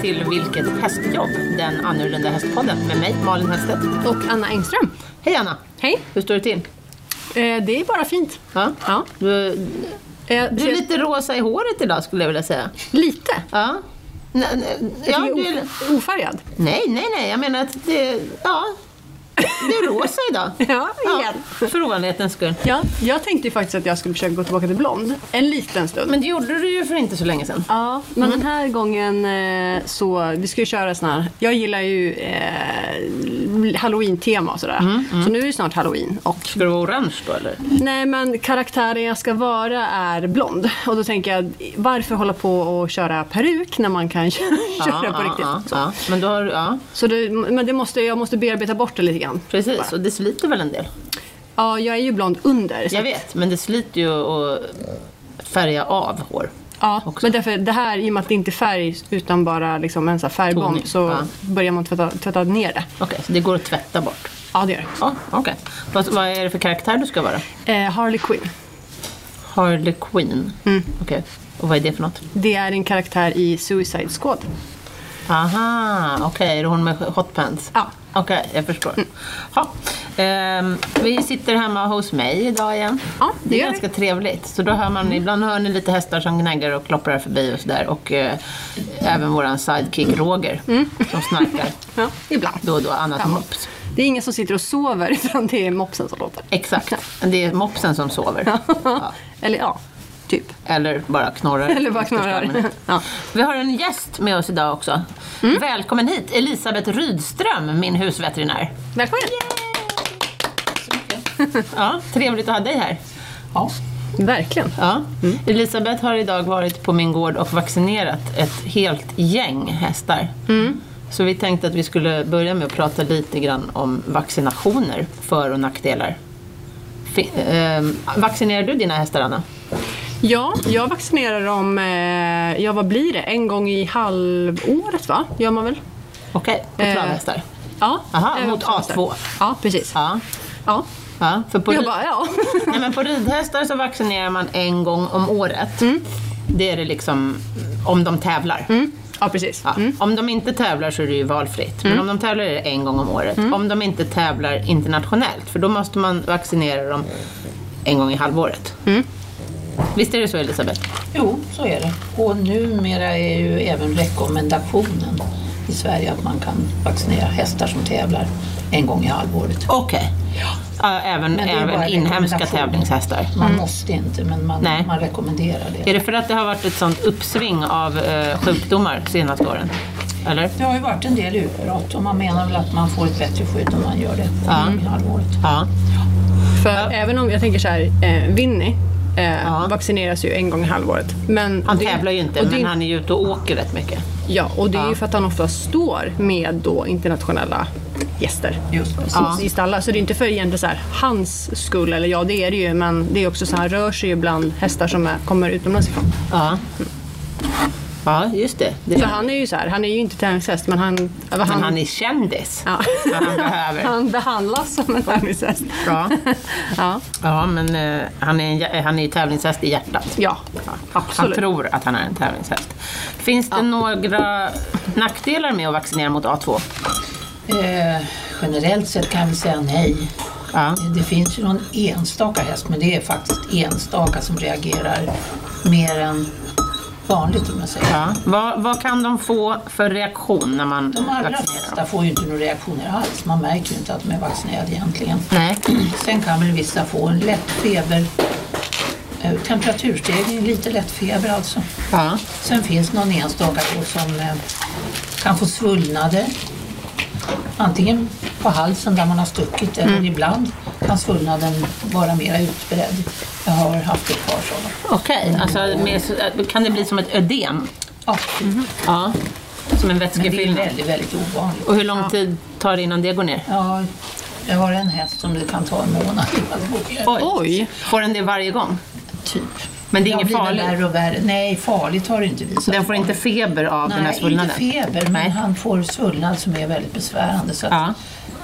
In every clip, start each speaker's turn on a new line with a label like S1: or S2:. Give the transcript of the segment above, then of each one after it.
S1: till Vilket hästjobb? Den annorlunda hästpodden med mig, Malin Hellstedt.
S2: Och Anna Engström.
S1: Hej Anna!
S2: Hej.
S1: Hur står det till?
S2: Eh, det är bara fint.
S1: Ja.
S2: Ja.
S1: Du,
S2: Eh,
S1: du är lite rosa i håret idag skulle jag vilja säga.
S2: Lite.
S1: Ja. N- n-
S2: Ja,
S1: ja, du
S2: du
S1: är,
S2: är ofärgad.
S1: nej, nej, nej. Jag menar att det, ja, du är rosa idag.
S2: Ja,
S1: Ja,
S2: igen.
S1: för ovanlighetens skull.
S2: Ja, jag tänkte ju faktiskt att jag skulle försöka gå tillbaka till blond. En liten stund. Mm.
S1: Men det gjorde du ju för inte så länge sedan.
S2: Ja, men den här gången eh, så, vi ska ju köra sån här, jag gillar ju eh, halloween-tema och sådär. Så nu är det snart halloween och
S1: Ska du vara orange då eller?
S2: Nej men karaktären jag ska vara är blond. Och då tänker jag, varför hålla på och köra peruk när man kan köra på riktigt?
S1: ja,
S2: så
S1: ja. Men, då har, du- ja,
S2: så det, men det måste, jag måste bearbeta bort det lite grann.
S1: precis. Och det sliter väl en del?
S2: Ja, jag är ju blond under. Så,
S1: Jag vet, men det sliter ju att färga av hår.
S2: ja,
S1: också.
S2: men därför, det här, i och med att det inte är färg utan bara liksom en sån här
S1: Toning,
S2: färgbomb så
S1: ja.
S2: börjar man tvätta, tvätta ner det.
S1: Okej, så det går att tvätta bort.
S2: Ja, det gör
S1: Ja, okej. Vad, vad är det för karaktär du ska vara?
S2: det. Eh, Harley Quinn.
S1: Harley Quinn. Mm. Okej. Och vad är det för något?
S2: Det är en karaktär i Suicide Squad.
S1: Aha, okej. Är det hon med hotpants?
S2: Ja. Mm.
S1: Okej, jag förstår. Ha. Ehm, vi sitter hemma hos mig idag igen.
S2: Ja, det
S1: Det är
S2: gör vi. Mm.
S1: ganska trevligt. Så då hör man, ibland hör ni lite hästar som gnaggar och klopprar förbi och sådär. Och eh, även våran sidekick Roger
S2: Mm.
S1: som snarkar
S2: Ja, ibland.
S1: då och då, annat
S2: Framåt.
S1: mops.
S2: Det är ingen som sitter och sover utan det är mopsen som låter.
S1: Exakt. Det är mopsen som sover. Ja.
S2: Eller ja, typ.
S1: Eller bara knorrar.
S2: Eller bara
S1: i största
S2: knorrar.
S1: allmänhet.
S2: Ja.
S1: Vi har en gäst med oss idag också.
S2: Mm.
S1: Välkommen hit, Elisabeth Rydström, min husveterinär.
S2: Välkommen!
S1: Ja, trevligt att ha dig här. Ja.
S2: Verkligen.
S1: Ja.
S2: Mm.
S1: Elisabeth har idag varit på min gård och vaccinerat ett helt gäng hästar.
S2: Mm.
S1: Så vi tänkte att vi skulle börja med att prata lite grann om vaccinationer, för och nackdelar. Fi- ehm, vaccinerar du dina hästar, Anna?
S2: Ja, jag vaccinerar dem, eh, ja vad blir det, en gång i halvåret va? Gör man väl?
S1: Okej, på
S2: Eh,
S1: travhästar?
S2: Ja.
S1: Aha,
S2: eh,
S1: mot A2.
S2: Ja, precis. Ja.
S1: Ja. ja för på
S2: Jag
S1: ri-
S2: bara, ja.
S1: Nej, men på ridhästar så vaccinerar man en gång om året. Det är det liksom om de tävlar.
S2: Mm. ja, precis.
S1: Ja. Om de inte tävlar så är det ju valfritt. Men om de tävlar är det en gång om året. Om de inte tävlar internationellt, för då måste man vaccinera dem en gång i halvåret. Visst är det så Elisabeth?
S3: Jo, så är det. Och numera är ju även rekommendationen i Sverige att man kan vaccinera hästar som tävlar en gång i halvåret.
S1: Okej. Ja, även
S3: Men det är
S1: även
S3: bara
S1: inhemska
S3: rekommendation.
S1: tävlingshästar. Mm.
S3: Man måste inte, men man,
S1: Nej.
S3: man rekommenderar det.
S1: Är det för att det har varit ett sånt uppsving av eh, sjukdomar de senaste åren? Eller?
S3: Det har ju varit en del utbrott och man menar väl att man får ett bättre skydd om man gör det en gång i halvåret.
S1: Ja.
S2: För även om, jag tänker så här, eh, Winnie eh,
S1: Ja.
S2: vaccineras ju en gång i halvåret. Men
S1: Han
S2: det-
S1: tävlar ju inte,
S2: och det,
S1: men han är ju ute och åker rätt mycket.
S2: Ja, och det är
S1: Ja.
S2: ju för att han ofta står med då internationella gäster.
S3: Just precis.
S1: Ja.
S2: i stallar. Så det är inte för egentligen så här, hans skull, eller ja det är det ju, men det är också så här, han rör sig ju bland hästar som är, kommer utomlands ifrån.
S1: Ja. Ja, just det. det
S2: Så han är ju så här, han är ju inte tävlingshäst, men han... Vad
S1: Men
S2: han,
S1: han är kändis.
S2: ja.
S1: Vad han behöver.
S2: han behandlas som en tävlingshäst.
S1: Ja,
S2: Ja,
S1: ja men eh, han, är en, jä- han är ju tävlingshäst i hjärtat.
S2: ja.
S1: Han
S2: absolut.
S1: tror att han är en tävlingshäst. Finns det några nackdelar med att vaccinera mot A2?
S3: Eh, generellt sett kan vi säga nej.
S1: Ja.
S3: Det finns ju någon enstaka häst, men det är faktiskt enstaka som reagerar mer än vanligt om jag säger.
S1: Ja. Vad, vad kan de få för reaktion när man
S3: De allra
S1: vaccinerar
S3: flesta
S1: dem?
S3: får ju inte några reaktioner alls. Man märker ju inte att de är vaccinerade egentligen.
S1: Nej.
S3: Sen kan väl vissa få en lätt feber, eh, temperaturstegring, lite lätt feber alltså.
S1: Ja.
S3: Sen finns någon enstaka då som eh, kan få svullnader. Antingen på halsen där man har stuckit eller ibland kan svullnaden vara mera utbredd. Jag har haft ett par sådana.
S1: Okej, alltså, med- kan det bli som ett ödem?
S3: Ja,
S1: Ja. Som en
S3: men Mhm, det är
S1: vätskefyllnad?
S3: väldigt, väldigt ovanligt.
S1: Och hur lång tid tar det innan det går ner?
S3: Ja, jag har en häst som det kan ta en månad innan det går.
S1: Oj.
S2: Oj.
S1: Får den det varje gång?
S3: Typ.
S1: Men det är
S3: Jag
S1: inget
S3: blir väl
S1: farligt?
S3: Värre och värre. Nej, farligt har det inte visat
S1: Den får inte feber av den här
S3: Nej,
S1: svullnaden?
S3: inte feber, men
S1: Nej.
S3: han får svullnad som är väldigt besvärande. Så att
S1: Ja.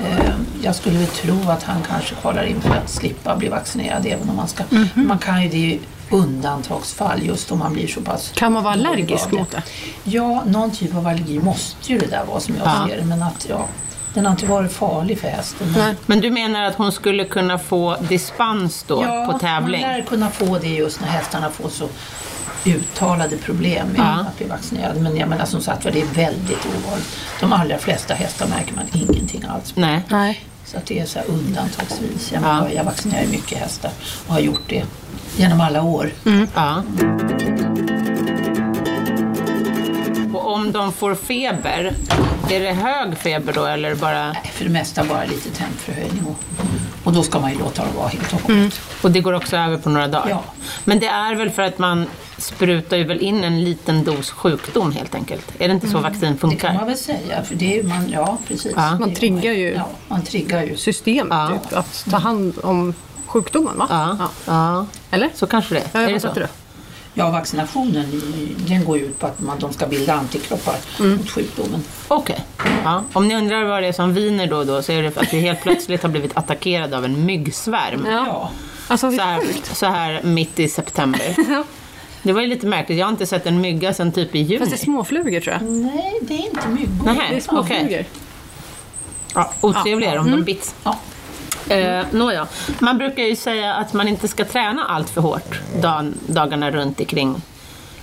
S3: Eh, Jag skulle väl tro att han kanske kollar in för att slippa bli vaccinerad även om man ska.
S1: Mhm.
S3: Man kan ju det i undantagsfall just om man blir så pass
S2: Kan man vara
S3: dålig
S2: allergisk
S3: av det.
S2: mot det?
S3: Ja, någon typ av allergi måste ju det där vara som jag
S1: Ja.
S3: ser det. Men att ja, den har inte varit farlig för hästen. Men-
S2: Nej.
S1: Men du menar att hon skulle kunna få dispens då
S3: ja,
S1: på tävling?
S3: man lär kunna få det just när hästarna får så uttalade problem med
S1: Ja.
S3: att bli vaccinerade. Men jag menar som sagt var, det är väldigt ovanligt. De allra flesta hästar märker man ingenting alls på.
S1: Nej.
S2: Nej.
S3: Så att det är så här undantagsvis. Jag,
S1: Ja.
S3: menar, jag vaccinerar ju mycket hästar och har gjort det genom alla år.
S1: Ja. Och om de får feber, är det hög feber då eller bara...
S3: För det mesta bara lite tempförhöjning och, och då ska man ju låta dem vara helt och hållet.
S1: Och det går också över på några dagar?
S3: Ja.
S1: Men det är väl för att man sprutar ju väl in en liten dos sjukdom helt enkelt? Är det inte så vaccin
S3: Det kan man
S1: funkar?
S3: väl säga, för det är ju man, ja precis.
S1: Ja. Man
S3: Det är-
S2: triggar ju-
S3: Ja, man triggar ju.
S2: Systemet,
S1: Ja.
S2: typ, att ta hand om sjukdomen, va?
S1: Ja. ja,
S2: Eller?
S1: så kanske det
S2: Ja,
S1: är.
S2: jag
S1: det
S2: fattar
S1: så?
S2: det.
S3: Ja, vaccinationen den går ju ut på att man, de ska bilda antikroppar
S1: Mm.
S3: mot sjukdomen.
S1: Okej. Ja. Om ni undrar vad det är som viner då och då så är det för att vi helt plötsligt har blivit attackerade av en myggsvärm.
S2: Ja.
S3: Ja.
S2: Alltså,
S1: Så här, så här mitt i september. Det var ju lite märkligt. Jag har inte sett en mygga sedan typ i juni.
S2: Fast det är småflugor tror jag.
S3: Nej, det är inte myggor.
S1: Nej.
S2: Det är småflugor.
S1: Okej. ja, otrevliga är de, de bits.
S3: Ja.
S1: Eh, nåja, man brukar ju säga att man inte ska träna allt för hårt dagen, dagarna runt omkring.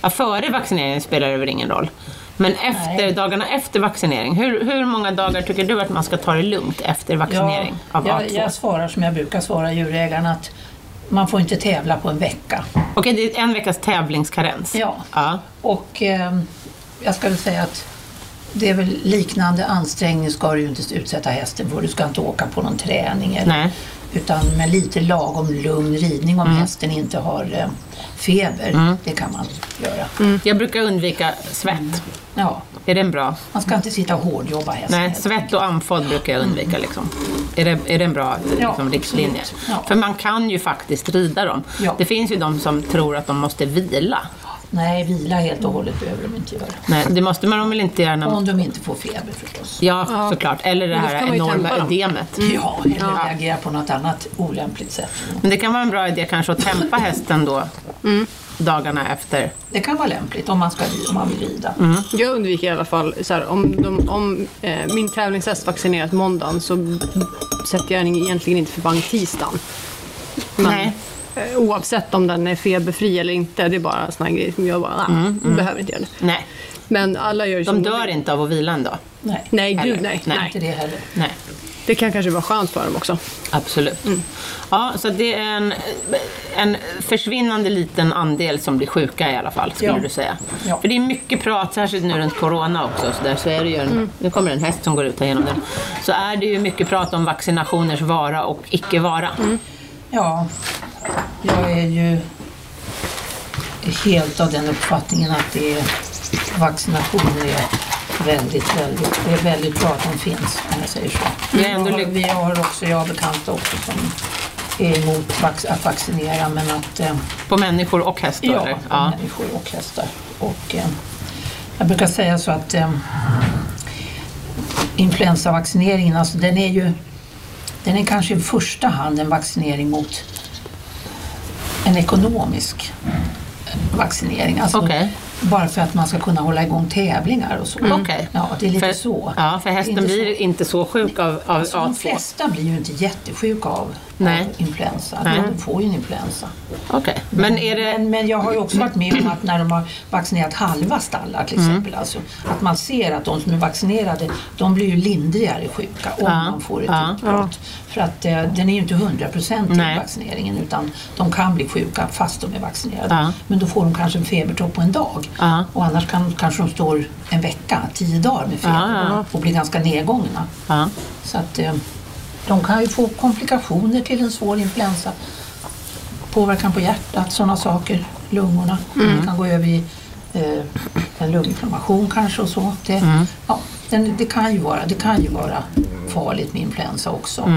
S1: Ja, före vaccineringen spelar det väl ingen roll. Men efter,
S3: Nej.
S1: dagarna efter vaccinering, hur, hur många dagar tycker du att man ska ta det lugnt efter
S3: Ja,
S1: vaccinering av
S3: jag,
S1: A2?
S3: jag svarar som jag brukar svara djurägarna att man får inte tävla på en vecka.
S1: Okej, det är en veckas tävlingskarens.
S3: Ja.
S1: ja.
S3: Och eh, jag ska väl säga att det är väl liknande ansträngning ska du ju inte utsätta hästen för. Du ska inte åka på någon träning. Eller,
S1: Nej. Mm.
S3: Utan med lite lagom lugn ridning om hästen inte har eh, feber. Det kan man göra.
S1: Jag brukar undvika svett.
S3: Ja,
S1: Är den bra?
S3: man ska inte sitta och hårdjobba hästen.
S1: Nej, svett och andfådd brukar jag
S2: Mm.
S1: undvika. Liksom. Är, det, är det en bra
S3: Ja,
S1: liksom, riktlinje?
S3: absolut. Ja.
S1: För man kan ju faktiskt rida dem.
S3: Ja.
S1: Det finns ju de som tror att de måste vila.
S3: Nej, vila helt och hållet behöver de inte göra.
S1: Nej, det måste man väl inte göra när man...
S3: Om de inte får feber förstås.
S1: Ja,
S2: Ja.
S1: såklart. Eller det
S2: Men då
S1: här
S2: ska man ju
S1: enorma
S2: tempa dem. Mm.
S1: ödemet.
S3: Ja, eller reagera på något annat olämpligt sätt.
S1: Men det kan vara en bra idé kanske att tempa hästen då
S2: Mm.
S1: dagarna efter.
S3: Det kan vara lämpligt om man, ska, om man vill rida.
S2: Jag undviker i alla fall, så här, om, de, om eh, min tävlingshäst vaccinerat måndagen så sätter jag den egentligen inte för bank tisdagen. Men,
S1: Nej.
S2: eh, Oavsett om den är feberfri eller inte, det är bara en sån här grej som jag bara, nej, behöver inte göra det.
S1: Nej,
S2: Men alla gör ju som
S1: de dör
S2: vill.
S1: inte av att vila en dag.
S3: Nej,
S2: Nej,
S1: Eller?
S2: gud nej.
S1: Nej.
S2: nej.
S3: inte det heller.
S1: Nej,
S2: Det kan kanske vara skönt för dem också.
S1: absolut.
S3: Mm.
S1: Ja, så det är en, en försvinnande liten andel som blir sjuka i alla fall, skulle
S3: Ja.
S1: du säga.
S3: Ja.
S1: För det är mycket prat, särskilt nu runt corona också, så, där, så är det ju en,
S3: Mm.
S1: nu kommer det en häst som går ut här genom den. Så är det ju mycket prat om vaccinationers vara och icke vara.
S3: Mm. Ja, jag är ju helt av den uppfattningen att det är, vaccinationer är väldigt, väldigt, det är väldigt bra att de finns om jag säger så.
S1: Jag är ändå
S3: har,
S1: lyck-
S3: vi har också, jag har bekanta också som är emot vax, att vaccinera men att eh,
S1: På människor och hästar?
S3: Ja,
S1: eller?
S3: ja. människor och hästar. Och, eh, jag brukar säga så att eh, influensavaccineringen, alltså den är ju den är kanske i första hand en vaccinering mot en ekonomisk vaccinering. Alltså
S1: Okej. Mm.
S3: Bara för att man ska kunna hålla igång tävlingar och så. Mm.
S1: Okej.
S3: Ja, det är lite
S1: för,
S3: så.
S1: Ja, för
S3: Det är
S1: hästen
S3: inte så-
S1: blir inte så sjuk av, av
S3: Alltså, de
S1: A2.
S3: flesta blir ju inte jättesjuka av,
S1: Nej.
S3: av influensa.
S1: Nej.
S3: De får ju en influensa.
S1: Okej, men är det...
S3: Men, men jag har ju också varit med om att när de har vaccinerat halva stallar
S1: Mm.
S3: till exempel, alltså, att man ser att de som är vaccinerade, de blir ju lindrigare sjuka om
S1: Ja,
S3: man får ett
S1: ja.
S3: utbrott. För att eh, den är ju inte 100%
S1: Nej.
S3: i vaccineringen utan de kan bli sjuka fast de är vaccinerade.
S1: Ja.
S3: Men då får de kanske en febertopp på en dag
S1: Ja.
S3: och annars kan, kanske de står en vecka, tio dagar med feber
S1: Ja, ja.
S3: och blir ganska nedgångna.
S1: Ja.
S3: Så att eh, de kan ju få komplikationer till en svår influensa. Påverkan på hjärtat, sådana saker, lungorna. Det kan gå över i eh, en lunginflammation kanske och så. Det, ja, den, det, kan ju vara, det kan ju vara farligt med influensa också.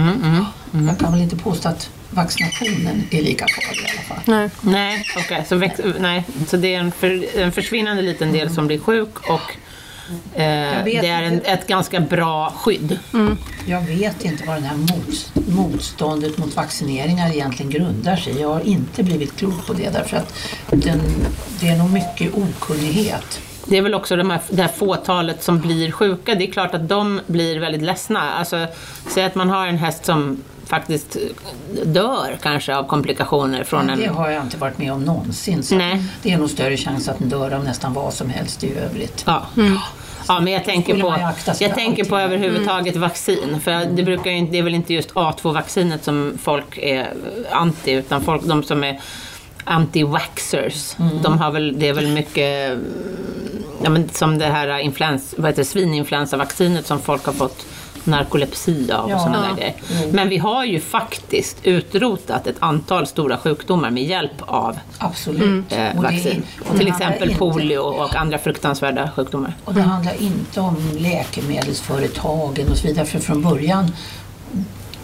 S3: Jag kan väl inte påstå att vaccinationen är lika farlig i alla fall.
S2: Nej.
S1: Nej, okej. Så, väx... Nej. så det är en, för... en försvinnande liten del som blir sjuk och Eh,
S3: Jag vet
S1: det är en,
S3: inte. Mm.
S1: ett ganska bra skydd.
S3: Jag vet inte vad det här mots- motståndet mot vaccineringar egentligen grundar sig i. Jag har inte blivit klok på det därför att den, det är nog mycket okunnighet.
S1: Det är väl också de här, det här fåtalet som blir sjuka, det är klart att de blir väldigt ledsna. Alltså, säg att man har en häst som faktiskt dör kanske av komplikationer från
S3: Det
S1: en...
S3: har jag inte varit med om någonsin. Så
S1: Nej.
S3: Det är nog större chans att den dör av nästan vad som helst i övrigt.
S1: Ja. ja, men jag tänker
S3: Mm. Skulle
S1: på,
S3: man ju akta sig
S1: jag
S3: för
S1: tänker på
S3: allting. Mm.
S1: överhuvudtaget vaccin. För det, brukar ju, inte- det är väl inte just A2-vaccinet som folk är anti, utan folk, de som är anti-waxers,
S3: Mm.
S1: de har väl, det är väl mycket ja, men som det här influens, vad heter det, svininfluensavaccinet som folk har fått narkolepsi av och
S3: Ja. Mm.
S1: sådana där
S2: Ja.
S1: grejer. Men vi har ju faktiskt utrotat ett antal stora sjukdomar med hjälp av
S3: Absolut.
S1: eh,
S3: Och det-
S1: vaccin.
S3: och det
S1: Till
S3: handlar
S1: exempel
S3: inte-
S1: polio och andra fruktansvärda sjukdomar.
S3: Och det handlar inte om läkemedelsföretagen och så vidare. För från början,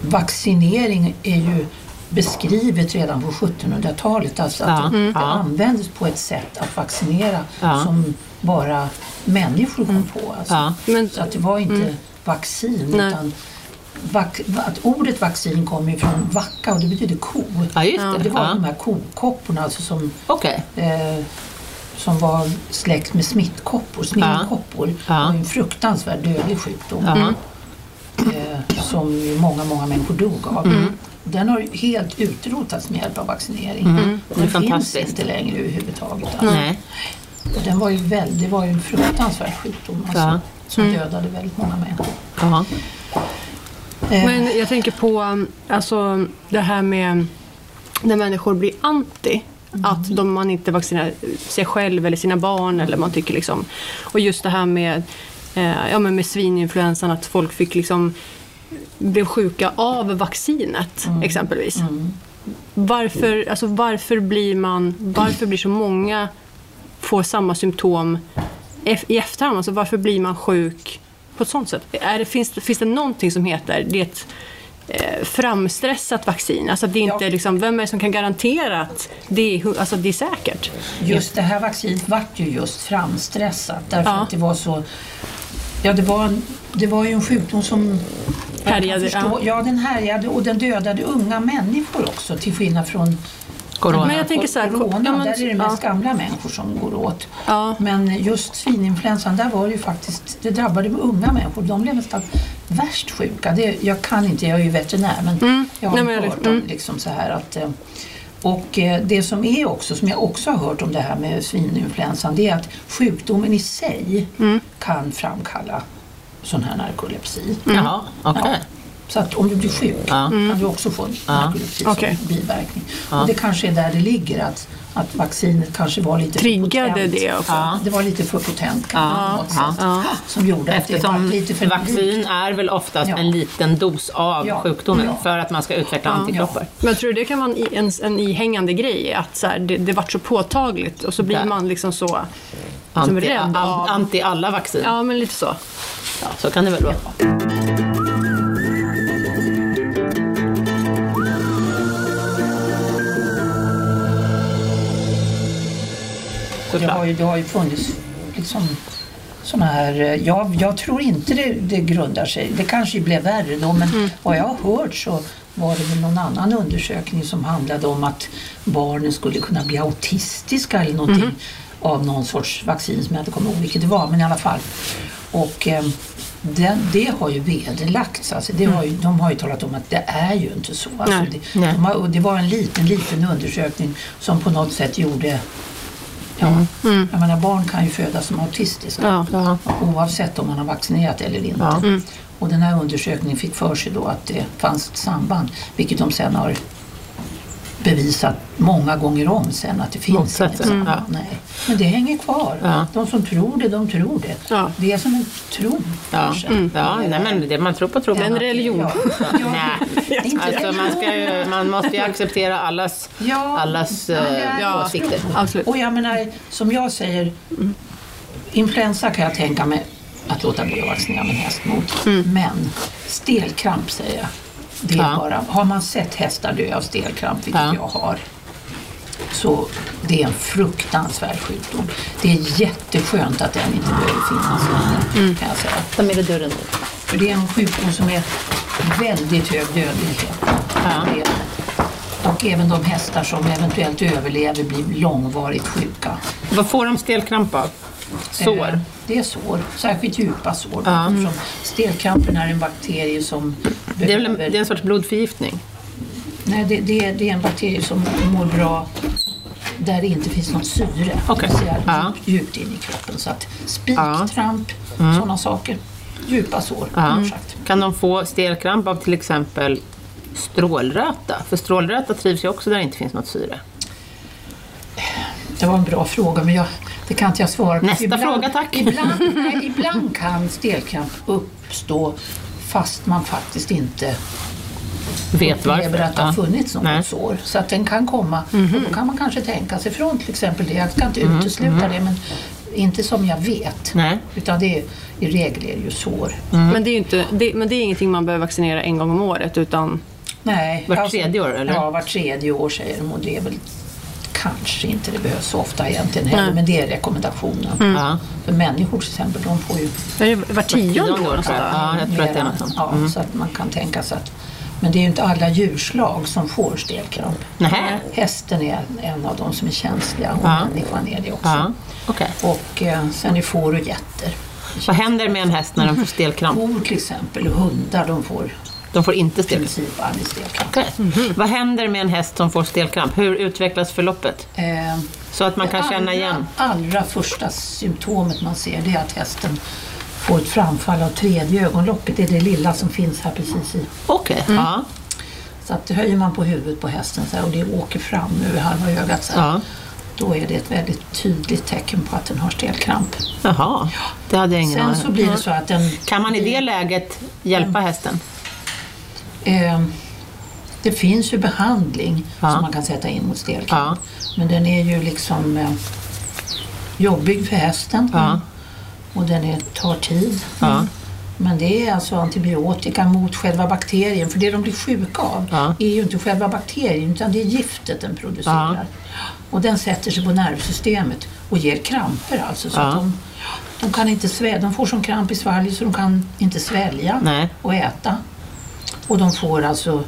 S3: vaccinering är ju beskrivet redan på 1700-talet. Alltså att
S1: Ja.
S3: det
S1: Mm. Ja.
S3: användes på ett sätt att vaccinera
S1: Ja.
S3: som bara människor kom på. Alltså.
S1: Ja. Mm.
S2: Men-
S3: Så att det var inte vaccin
S2: Nej.
S3: utan vac- att ordet vaccin kommer ju från vacka och det betyder ko.
S1: Ja, just det.
S3: Det var
S1: Ja.
S3: de här kokopporna alltså som
S1: Okej.
S3: eh, som var släkt med smittkoppor. Smittkoppor
S1: Ja.
S3: var ju en fruktansvärd dödlig sjukdom
S1: Ja.
S3: eh, som ju många, många människor dog av.
S1: Mm.
S3: Den har ju helt utrotats med hjälp av vaccinering.
S1: Det är
S3: Den finns
S1: fantastiskt.
S3: inte längre överhuvudtaget. alltså.
S1: Nej.
S3: Och Den var ju väl, det var ju en fruktansvärd sjukdom alltså,
S1: Ja. Mm.
S3: som dödade väldigt många människor.
S1: Ja.
S3: Eh,
S2: Men jag tänker på um, alltså, det här med när människor blir anti. Att de, man inte vaccinerar sig själv eller sina barn. Eller man tycker liksom, och just det här med, eh, ja, men med svininfluensan, att folk fick liksom, blev sjuka av vaccinet exempelvis. Varför, alltså, varför, blir man, varför blir så många får samma symptom eff- i efterhand? Alltså varför blir man sjuk på ett sånt sätt? Är det, finns, finns det någonting som heter det är ett eh, framstressat vaccin? Alltså att det inte
S3: Ja.
S2: är liksom, vem är det som kan garantera att det är, hu- alltså det är säkert?
S3: Just det här vaccinet vart ju just framstressat därför
S2: Ja.
S3: att det var så... Ja, det var, en- det var ju en sjukdom som... jag kan
S2: Härjade,
S3: förstå, ja. den härjade och den dödade unga människor också till skillnad från
S1: Corona.
S2: Men jag tänker så här,
S3: corona.
S2: ja, men-
S3: där är det mest
S2: ja.
S3: gamla människor som går åt.
S2: Ja.
S3: Men just svininfluensan, där var det ju faktiskt... Det drabbade unga människor. De blev nästan värst sjuka. Det, jag kan inte, jag är ju veterinär, men jag har
S2: Nej, men jag-
S3: hört om
S2: mm.
S3: liksom så här att eh, och eh, det som är också, som jag också har hört om det här med svininfluensan, det är att sjukdomen i sig
S2: Mm.
S3: kan framkalla sån här narkolepsi.
S2: Mm.
S1: Jaha, okej.
S3: Ja. Så att om du blir sjuk
S1: Ja.
S3: kan du också få narkolepsi
S2: Okej.
S3: som biverkning. Och det kanske är där det ligger, att, att vaccinet kanske var lite för
S2: Triggade
S3: potent.
S2: det också?
S1: Ja.
S3: Det var lite för potent kanske på något
S1: Ja.
S3: sätt. Som gjorde att det var
S1: Eftersom
S3: lite för
S1: vaccin är väl oftast
S3: Ja.
S1: en liten dos av
S3: Ja.
S1: sjukdomen
S3: Ja.
S1: för att man ska utveckla antikroppar.
S2: Men jag tror du det kan vara en, i- en, en ihängande grej? Att så här, det, det vart så påtagligt och så blir
S1: Där.
S2: man liksom så... Som
S1: Anti,
S2: rädd
S1: an,
S2: av-
S1: anti alla vaccin.
S2: Ja, men lite så.
S1: Så kan det väl vara.
S3: Det har
S1: Såklart.
S3: ju, det har ju funnits liksom såna här, eh, jag, jag tror inte det, det grundar sig, det kanske blev värre då men vad jag har hört så var det väl någon annan undersökning som handlade om att barnen skulle kunna bli autistiska eller någonting av någon sorts vaccin som jag inte kommer ihåg vilket det var men i alla fall. Och eh, den, det har ju vederlagts, alltså det har ju, de har ju talat om att det är ju inte så. Alltså
S2: Nej.
S3: det,
S1: Nej.
S3: De har, och det var en liten, liten undersökning som på något sätt gjorde Ja. Jag menar, barn kan ju födas som autistiska
S2: Ja.
S1: Mm. Ja.
S3: oavsett om man har vaccinerat eller inte.
S1: Ja. Mm.
S3: Och den här undersökningen fick för sig då att det fanns ett samband, vilket de sen har bevisat många gånger om sen att det finns inget
S1: Motsatsen,
S3: samband.
S1: ja.
S3: Nej. Men det hänger kvar.
S1: Mm. Ja.
S3: De som tror det, de tror det.
S2: Ja.
S3: Det är som en tro
S1: Ja. Mm.
S3: kanske.
S1: Ja, nej, men det man tror på tror
S2: En
S1: man.
S2: religion.
S3: Ja.
S1: Nej.
S3: Det är inte
S1: Alltså, man, ska
S3: religion.
S1: ju, man måste ju acceptera allas,
S3: Ja.
S1: allas eh,
S2: Ja.
S1: åsikter.
S2: Absolut.
S3: Och jag menar, som jag säger, influensa kan jag tänka mig att låta bli att vaccinera min häst mot. Men stelkramp säger jag. Det är
S1: Ja.
S3: bara, har man sett hästar dö av stelkramp, vilket
S1: Ja.
S3: jag har, Så det är en fruktansvärd sjukdom. Det är jätteskönt att den inte behöver finnas längre, kan jag säga.
S1: Ta med dig dörren dit.
S3: För det är en sjukdom som är väldigt hög dödlighet.
S1: Ja.
S3: Och även de hästar som eventuellt överlever blir långvarigt sjuka.
S1: Vad får de stelkramp av?
S3: Eh,
S1: Sår?
S3: Det är sår, särskilt djupa sår.
S1: Ja.
S3: eftersom Stelkrampen är en bakterie som
S1: Det är, väl en, det
S3: behöver-
S1: är en sorts blodförgiftning?
S3: Nej, det, det, är- det är en bakterie som mår bra där det inte finns något syre.
S1: Okej.
S3: Det vill säga
S1: Ja.
S3: djupt, djupt in i kroppen. Så att
S1: Ja. Mm.
S3: spiktramp, sådana saker. Djupa sår,
S1: Ja.
S3: kort sagt.
S1: Kan de få stelkramp av till exempel strålröta? För strålröta trivs ju också där det inte finns något syre.
S3: Det var en bra fråga, men jag, det kan inte jag svara på.
S1: Nästa fråga, tack.
S3: Ibland, nej, ibland kan stelkramp uppstå fast man faktiskt inte
S1: Vet varför.
S3: upplever att det har
S1: Ja.
S3: funnits något
S1: Nej. Mhm.
S3: sår. Så att den kan komma. Och då kan man kanske tänka sig från till exempel det. Jag ska inte utesluta det, men inte som jag vet.
S1: mhm. Nej. Mm.
S3: Utan det är, i regel är det ju sår.
S2: Men, det är ju inte, det, men det är ingenting man behöver vaccinera en gång om året utan
S3: Nej, alltså-
S1: Vart tredje år, eller?
S3: Ja, vart tredje år säger de och det är väl kanske inte det behövs så ofta egentligen heller, men det är rekommendationen.
S1: Mm. Ja.
S3: För människor till exempel, de får ju
S2: är det var tionde år. och
S1: tror jag.
S2: sådär.
S1: Ja, jag tror att det är något sånt. Mm.
S3: Ja, så att man kan tänka sig att men det är ju inte alla djurslag som får stelkramp.
S1: Nähä.
S3: Hästen är en av de som är känsliga och
S1: Ja.
S3: människan är det också.
S1: Ja. Okej.
S3: Och eh, sen är får och getter.
S1: Vad händer med en häst när den får stelkramp?
S3: Kor till exempel och hundar de får
S1: De får inte
S3: i
S1: stelkramp.
S3: princip aldrig stelkramp.
S1: Okej.
S3: Mm-hmm.
S1: Vad händer med en häst som får stelkramp? Hur utvecklas förloppet?
S3: Eh,
S1: Så att man kan känna igen.
S3: Allra, allra första symptomet man ser det är att hästen får ett framfall av tredje ögonlocket. Det är det lilla som finns här precis i.
S1: Okej.
S3: Mm.
S1: Ja.
S3: Så att höjer man på huvudet på hästen så här, och det åker fram över halva ögat så här,
S1: Ja.
S3: då är det ett väldigt tydligt tecken på att den har stelkramp.
S1: Jaha. Det hade jag ingen
S3: Sen
S1: aning
S3: så
S1: om.
S3: blir Mm. det så att den...
S1: Kan man i det läget hjälpa hästen?
S3: Eh, det finns ju behandling
S1: Ja.
S3: som man kan sätta in mot stelkramp. Men den är ju liksom eh, jobbig för hästen
S1: Ja.
S3: och den är, tar tid.
S1: Ja.
S3: Men det är alltså antibiotika mot själva bakterien. För det de blir sjuka av
S1: Ja.
S3: är ju inte själva bakterien utan det är giftet den producerar. Och den sätter sig på nervsystemet och ger kramper alltså. Så
S1: Ja.
S3: att de, de, kan inte svälja. de får som kramp i svalget så de kan inte svälja
S1: Nej.
S3: och äta. Och de får alltså,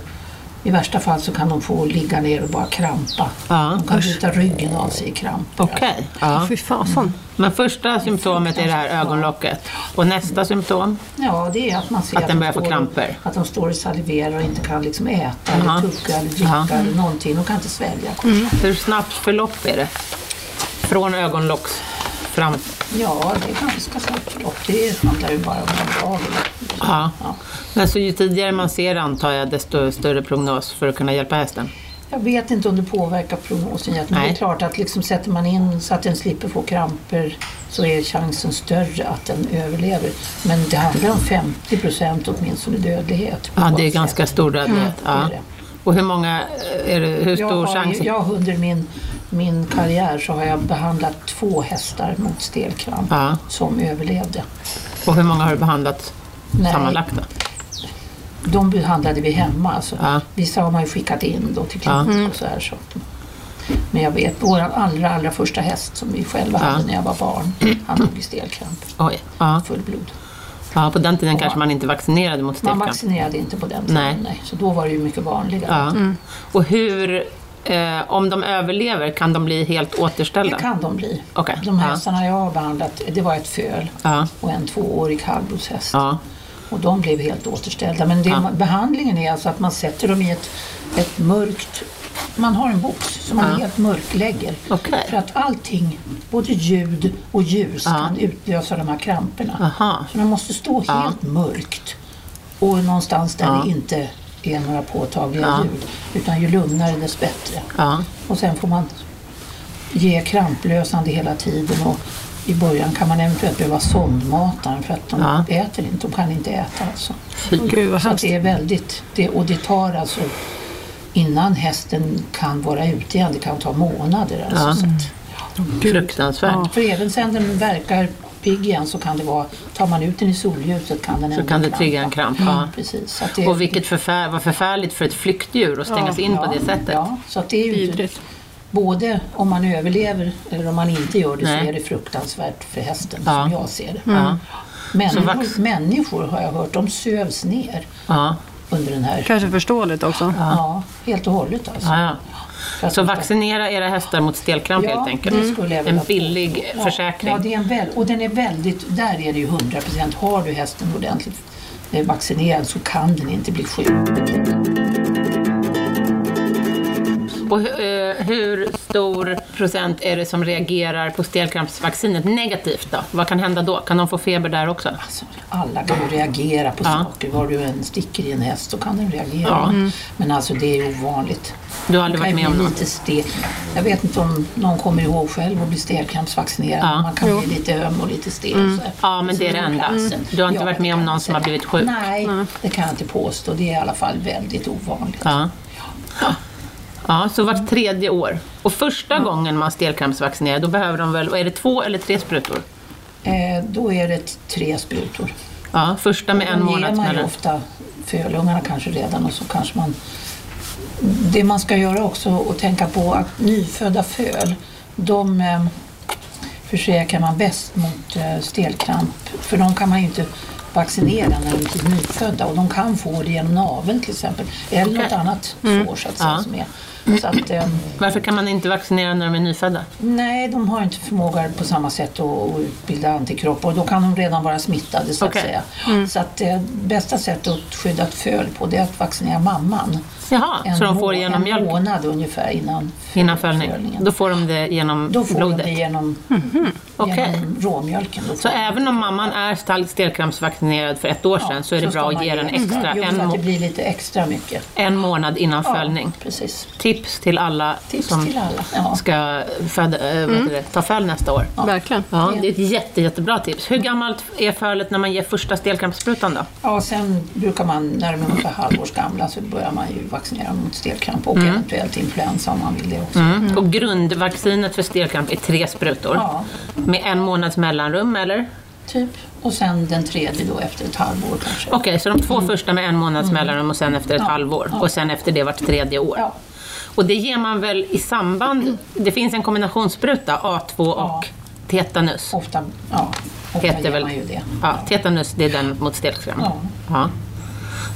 S3: i värsta fall så kan de få ligga ner och bara krampa.
S1: Ja.
S3: De kan bryta ryggen av sig i kramper.
S1: Okej. Ja.
S2: Fy fasen.
S1: Men första symptomet är det här ögonlocket. Och nästa symptom?
S3: Ja, det är att man ser
S1: Att den
S3: de
S1: börjar få
S3: står-
S1: kramper.
S3: Att de står och saliverar och inte kan liksom äta
S1: Jaha.
S3: eller tugga eller dricka
S1: Jaha. Mm.
S3: eller någonting. De kan inte svälja.
S1: Hur snabbt förlopp är det? Från ögonlocks fram?
S3: Ja, det är ganska snabbt förlopp. Det handlar ju bara om några dagar.
S1: Ja.
S3: Ja.
S1: Men så ju tidigare man ser det, antar jag, desto större prognos för att kunna hjälpa hästen?
S3: Jag vet inte om det påverkar prognosen jättemycket.
S1: Nej.
S3: Det är klart att liksom sätter man in så att den slipper få kramper så är chansen större att den överlever. Men det handlar om 50 procent åtminstone dödlighet.
S1: Ja, det är
S3: Oavsett.
S1: ganska stor dödlighet. Ja.
S3: Mm. det är det.
S1: Och hur många eh, är det, hur
S3: Jag
S1: stor
S3: har ju-
S1: chans?
S3: Jag under min, min karriär så har jag behandlat två hästar mot stelkramp
S1: Ja.
S3: som överlevde.
S1: Och hur många har du behandlat
S3: Nej.
S1: sammanlagt då?
S3: De behandlade vi hemma. Alltså.
S1: Ja.
S3: Vissa har man ju skickat in då till klinik och så här. Så. att- Men jag vet, vår allra, allra första häst som vi själva hade när jag var barn, han dog i stelkramp,
S1: Oj. Ja.
S3: fullblod.
S1: ja, på den tiden kanske man inte vaccinerade mot
S3: Man
S1: stelkramp.
S3: vaccinerade inte på den tiden,
S1: Nej.
S3: nej. så då var det ju mycket vanligare.
S1: Ja. Och hur, eh, om de överlever, kan de bli helt
S3: Det
S1: återställda?
S3: kan de bli.
S1: Okej.
S3: De
S1: Ja.
S3: hästarna jag har behandlat, det var ett föl
S1: Ja.
S3: och en tvåårig halvblodshäst.
S1: Ja.
S3: Och de blev helt återställda. Men det,
S1: Ja.
S3: behandlingen är alltså att man sätter dem i ett, ett mörkt... Man har en box som man
S1: Ja.
S3: helt mörklägger.
S1: Okej.
S3: För att allting, både ljud och ljus,
S1: Ja.
S3: kan utlösa de här kramperna.
S1: Aha.
S3: Så de måste stå
S1: Ja.
S3: helt mörkt. Och någonstans där
S1: Ja.
S3: det inte är några påtagliga
S1: Ja.
S3: ljud. Utan ju lugnare desto bättre.
S1: Ja.
S3: Och sen får man ge kramplösande hela tiden. Och i början kan man eventuellt behöva sondmataren för att de
S1: Ja.
S3: äter inte. De kan inte äta alltså.
S2: Gud vad
S3: Så att
S2: hemskt.
S3: det är väldigt, det, och det tar alltså innan hästen kan vara ute igen, det kan ta månader. Alltså,
S1: Ja. Mm.
S3: så att,
S1: Fruktansvärt.
S2: Ja.
S3: för även sen den verkar pigg igen så kan det vara, tar man ut den i solljuset kan den
S1: Så
S3: ändå
S1: kan det
S3: krampa.
S1: trigga en kramp. Ja.
S3: Mm, precis. Så att det,
S1: Och vilket förfär, vad förfärligt för ett flyktdjur att stängas in på
S3: ja,
S1: det sättet.
S3: Ja, så att det är ju inte,
S2: Vidrigt.
S3: både om man överlever eller om man inte gör det
S1: Nej.
S3: så är det fruktansvärt för hästen
S1: Ja.
S3: som jag ser det.
S1: Ja. Så vax-
S3: Människor, människor har jag hört, de sövs ner
S1: Ja.
S3: under den här.
S2: Kanske förståeligt också.
S3: Ja. helt och hållet alltså.
S1: Ja, ja.
S3: För att
S1: Så
S3: de-
S1: vaccinera era hästar mot stelkramp
S3: Ja,
S1: helt enkelt.
S3: det skulle jag vilja
S1: en
S3: påstå.
S1: billig
S3: Ja,
S1: försäkring.
S3: Ja, det är en väl, och den är väldigt, där är det ju 100 procent. Har du hästen ordentligt eh, vaccinerad så kan den inte bli sjuk.
S1: Och hu- eh, hur stor procent är det som reagerar på stelkrampsvaccinet negativt då? Vad kan hända då? Kan de få feber där också?
S3: Alltså, alla kan ju reagera på
S1: Ja.
S3: saker. Var du än sticker i en häst så kan den reagera.
S1: Ja.
S3: Men alltså det är ju ovanligt.
S1: Du har aldrig
S3: Det
S1: varit
S3: kan
S1: med
S3: ju
S1: om
S3: bli
S1: något?
S3: lite stel. Jag vet inte om någon kommer ihåg själv att bli stelkrampsvaccinerad.
S1: Ja. Mm.
S3: Man kan bli lite öm och lite stel. så här.
S1: Ja, men det är det
S3: Som
S1: enda.
S3: platsen.
S1: Mm. Du har inte
S3: Ja,
S1: varit med
S3: det
S1: om
S3: kan
S1: någon
S3: jag
S1: som har
S3: säga.
S1: blivit sjuk?
S3: Nej, det kan jag inte påstå. Det är i alla fall väldigt ovanligt.
S1: Ja. Ja, så vart tredje år. Och första gången man stelkrampsvaccinerar, då behöver de väl, och är det två eller tre sprutor?
S3: Eh, då är det t- tre sprutor.
S1: Ja, första med en
S3: Då ger
S1: månad
S3: man ju
S1: mellan.
S3: ofta fölungarna kanske redan och så kanske man... Det man ska göra också och tänka på att nyfödda föl, de eh, försäkrar man bäst mot eh, stelkramp. För de kan man ju inte vaccinera när de är typ nyfödda och de kan få det genom naveln till exempel. Eller något
S1: Okej. Mm.
S3: annat sår så att säga
S1: Ja.
S3: som är. Så att, eh,
S1: Varför kan man inte vaccinera när de är nyfödda?
S3: Nej, de har inte förmåga på samma sätt att, att utbilda antikroppar och då kan de redan vara smittade så
S1: Okej. Mm.
S3: att säga. Så att det bästa sättet att skydda ett föl på det är att vaccinera mamman.
S1: Jaha, så de får
S3: må-
S1: det genom
S3: en
S1: mjölk
S3: månad ungefär innan,
S1: innan följning?
S3: fölningen.
S1: Då får de det genom
S3: Då får de det
S1: blodet? Mhm.
S3: genom,
S1: Okej.
S3: genom råmjölken. Då
S1: Så
S3: får de-
S1: även om mamman är stal- stelkrampsvaccinerad för ett år
S3: Ja,
S1: sedan så är det
S3: ska
S1: bra att
S3: man
S1: ge den extra
S3: Jo, så
S1: en,
S3: att det
S1: må-
S3: blir lite extra mycket.
S1: en månad innan
S3: Ja,
S1: följning.
S3: precis.
S1: Tips till alla
S3: Tips
S1: som
S3: till alla. Mm. Ja.
S1: ska föda, eh, vad heter det, ta föl nästa år.
S2: Verkligen.
S1: Ja, det är ett jätte, jättebra tips. Hur gammalt är fölet när man ger första stelkrampssprutan då?
S3: Ja, sen brukar man när de är ungefär halvårs gamla så börjar man ju vaccinera mot stelkramp
S1: Mm.
S3: och eventuellt influensa om man vill det också.
S1: Och grundvaccinet för stelkramp är tre sprutor.
S3: Mm. Ja.
S1: Med en månads mellanrum eller?
S3: Typ. Och sen den tredje då efter ett halvår kanske.
S1: Okej, så de
S3: Mm.
S1: två första med en månads mellanrum och sen efter ett halvår. Och sen efter det vart tredje år.
S3: Ja.
S1: Och det ger man väl i samband... Det finns en kombinationsspruta, A2 och tetanus.
S3: Ofta, ja, ofta
S1: Heter
S3: gör
S1: väl-
S3: man ju det.
S1: Ja, tetanus, det är den mot stelkramp.
S3: Ja.
S1: Ja.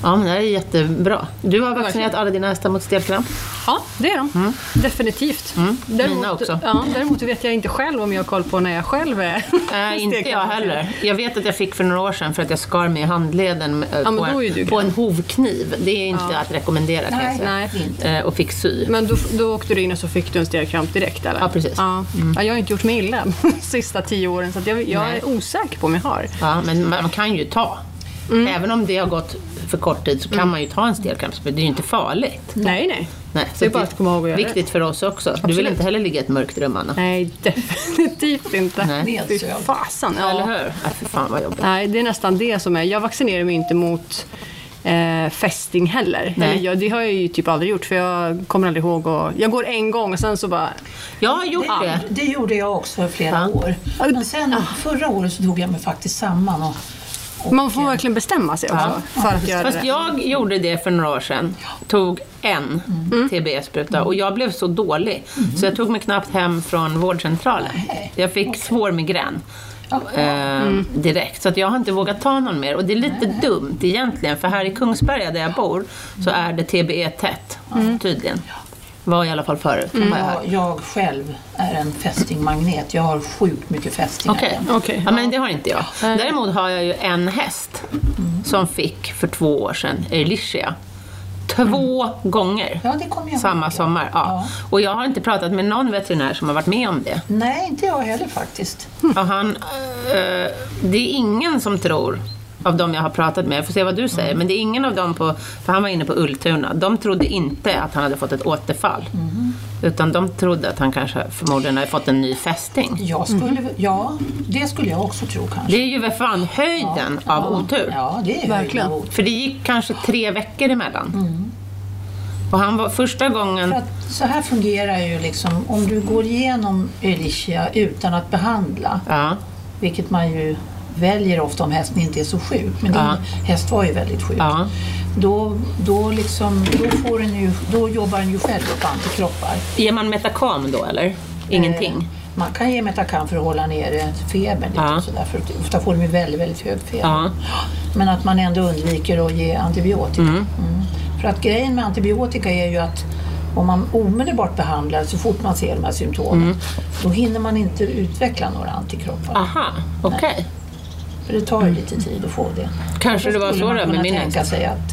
S1: ja, men det här är jättebra. Du har vaccinerat alla dina hästar mot stelkramp.
S2: Ja, det är de.
S1: Mm.
S2: Definitivt.
S1: Mina också.
S2: Ja, däremot vet jag inte själv om jag har koll på när jag själv är
S1: Nej, inte jag heller. Jag vet att jag fick för några år sedan för att jag skar mig i handleden eh,
S2: men
S1: på,
S2: då är du
S1: en, på
S2: grön.
S1: en hovkniv. Det är inte att rekommendera kan jag
S3: Nej,
S1: säga.
S2: Nej.
S3: inte.
S1: Eh, Och fick sy.
S2: Men då, då åkte du in och så fick du en stelkramp direkt eller?
S1: Ja, precis.
S2: Ja. Ja, jag har inte gjort mig illa de sista tio åren så att jag, jag
S1: Nej.
S2: är osäker på om jag har.
S1: Ja, men man kan ju ta.
S2: Mm.
S1: Även om det har gått för kort tid så kan man ju ta en stelkrampsspruta. Det är ju inte farligt.
S2: Nej, nej.
S1: Nej,
S2: Mm. Det är bara att komma ihåg att göra
S1: Viktigt för oss också. Du vill
S2: Absolut.
S1: inte heller ligga i ett mörkt rum, Anna.
S2: Nej, definitivt inte.
S1: Nej.
S2: Fy fasen. Ja.
S1: Eller hur? Ja, för fan vad jobbigt.
S2: Nej, det är nästan det som är. Jag vaccinerar mig inte mot eh, fästing heller.
S1: Nej.
S2: Eller jag, det har jag ju typ aldrig gjort för jag kommer aldrig ihåg och, Jag går en gång och sen så bara...
S1: Jag har gjort det.
S3: Det, det gjorde jag också i flera
S1: Ja. Ah.
S3: år. Men sen förra året så tog jag mig faktiskt samman och
S2: Man får verkligen bestämma sig också för att göra
S1: Fast
S2: det.
S1: jag gjorde det för några år sedan. Tog en
S3: Mm.
S1: TBE-spruta och jag blev så dålig så jag tog mig knappt hem från vårdcentralen.
S3: Nej.
S1: Jag fick svår migrän.
S3: Ja. Mm.
S1: eh, direkt. Så att jag har inte vågat ta någon mer. Och det är lite dumt egentligen, för här i Kungsberga där jag bor så
S3: Mm.
S1: är det TBE tätt, tydligen. Var i alla fall förut, har jag hört.
S3: jag, jag själv är en fästingmagnet. Jag har sjukt mycket fästingar.
S1: Okej,
S2: Okej,
S1: ja, men det har inte jag. Däremot har jag ju en häst
S3: Mm.
S1: som fick för två år sedan, Elicia. Två
S3: Mm.
S1: gånger
S3: Ja, det kommer jag
S1: samma
S3: ihåg.
S1: sommar. Ja.
S3: Ja.
S1: Och jag har inte pratat med någon veterinär som har varit med om det.
S3: Nej, inte jag heller faktiskt.
S1: Och han, eh, det är ingen som tror, av de jag har pratat med, jag får se vad du säger, men det är ingen av dem på, för han var inne på Ultuna, de trodde inte att han hade fått ett återfall.
S3: Mhm.
S1: Utan de trodde att han kanske förmodligen hade fått en ny fästing.
S3: Jag skulle, Ja, det skulle jag också tro kanske.
S1: Det är ju för fan höjden av otur.
S3: Ja, det är ju
S2: Verkligen.
S3: höjden av otur.
S1: För det gick kanske tre veckor emellan. Och han var första gången...
S3: Mhm. För att så här fungerar ju liksom, om du går igenom Ehrlichia utan att behandla,
S1: Ja,
S3: vilket man ju väljer ofta om hästen inte är så sjuk, men din
S1: Ja.
S3: häst var ju väldigt sjuk.
S1: Ja.
S3: då, då, liksom, då, får den ju, då jobbar den ju själv upp antikroppar.
S1: Ger man Metacam då eller? Ingenting?
S3: Eh, Man kan ge Metacan för att hålla nere febern. Lite
S1: Ja.
S3: och sådär, för att ofta får de ju väldigt, väldigt hög feber.
S1: Ja.
S3: Men att man ändå undviker att ge antibiotika. Mm. För att grejen med antibiotika är ju att om man omedelbart behandlar så fort man ser de här symptomen,
S1: Mm.
S3: då hinner man inte utveckla några antikroppar.
S1: Aha, okej.
S3: För det tar ju lite tid att få det.
S1: Kanske Mm. det var
S3: skulle
S1: så det
S3: man
S1: med
S3: kunna
S1: min
S3: tänka
S1: häst.
S3: sig att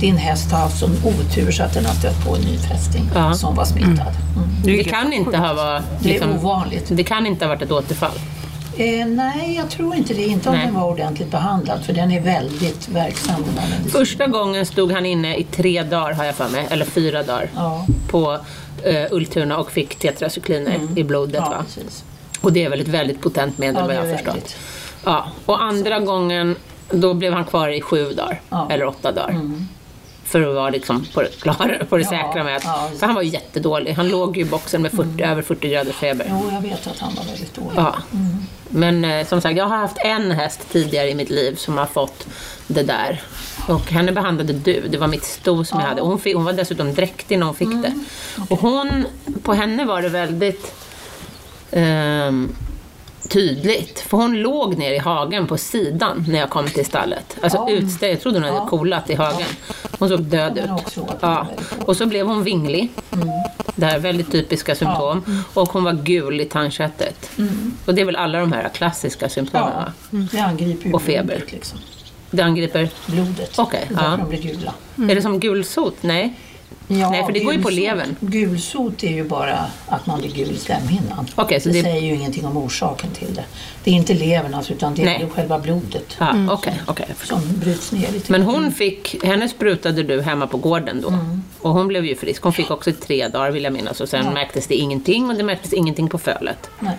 S3: din häst har haft sån otur så att den har stött på en ny fästing
S1: Ja.
S3: som var smittad. Mm.
S1: Det kan inte ha varit...
S3: Det är
S1: liksom-
S3: ovanligt.
S1: Det kan inte ha varit ett återfall.
S3: Eh, nej, jag tror inte det. Inte om
S1: Nej.
S3: den var ordentligt behandlad, för den är väldigt verksam. Den här medicinen.
S1: Första gången stod han inne i tre dagar har jag för mig, eller fyra dagar.
S3: Ja.
S1: På eh, Ultuna och fick tetracykliner i blodet
S3: Mm. Ja,
S1: va?
S3: precis.
S1: Och det är väl ett väldigt potent medel
S3: Ja,
S1: vad
S3: det
S1: jag
S3: är
S1: har förstått.
S3: väldigt.
S1: Ja. Och andra gången då blev han kvar i sju dagar,
S3: Ja. Mm.
S1: eller åtta dagar. För att vara liksom på det, klara, på det
S3: Ja,
S1: säkra med att,
S3: ja. Mm.
S1: för han var ju jättedålig. Han låg ju i boxen med 40, över 40 graders feber.
S3: Jo, jag vet att han var väldigt dålig.
S1: Ja. Men eh, som sagt, jag har haft en häst tidigare i mitt liv som har fått det där. Och henne behandlade du, det var mitt sto som jag hade. Hon, fick, hon var dessutom dräktig när hon fick det.
S3: Mm.
S1: Och hon, på henne var det väldigt ehm, tydligt. För hon låg ner i hagen på sidan när jag kom till stallet. Alltså
S3: Ja.
S1: utställd, jag trodde hon hade
S3: Ja.
S1: kolat i hagen. Hon såg död
S3: Den har
S1: ut.
S3: också varit
S1: Ja.
S3: väldigt Mm.
S1: Och så blev hon vinglig. Det här är väldigt typiska symptom. Och hon var gul i tandköttet. Och det är väl alla de här klassiska symptomen va?
S3: Mm. Ja, det angriper ju
S1: Och feber.
S3: blodet. Liksom.
S1: Det angriper...
S3: blodet.
S1: Okej,
S3: det är därför
S1: ja.
S3: de blir gula.
S1: Är det som gulsot? Nej.
S3: Ja,
S1: Nej, för det går ju på levern.
S3: Gulsot är ju bara att man blir gul i slemhinnan.
S1: Okej, så
S3: det,
S1: det-
S3: säger ju ingenting om orsaken till det. Det är inte levern alltså, utan det är
S1: Nej.
S3: själva blodet
S1: Ja, Okej, okej. jag förstår.
S3: som bryts ner lite.
S1: Men hon fick, henne sprutade du hemma på gården då.
S3: Mm.
S1: Och hon blev ju frisk. Hon fick också tre dagar vill jag minnas. Och sen märktes det ingenting och det märktes ingenting på fölet.
S3: Nej.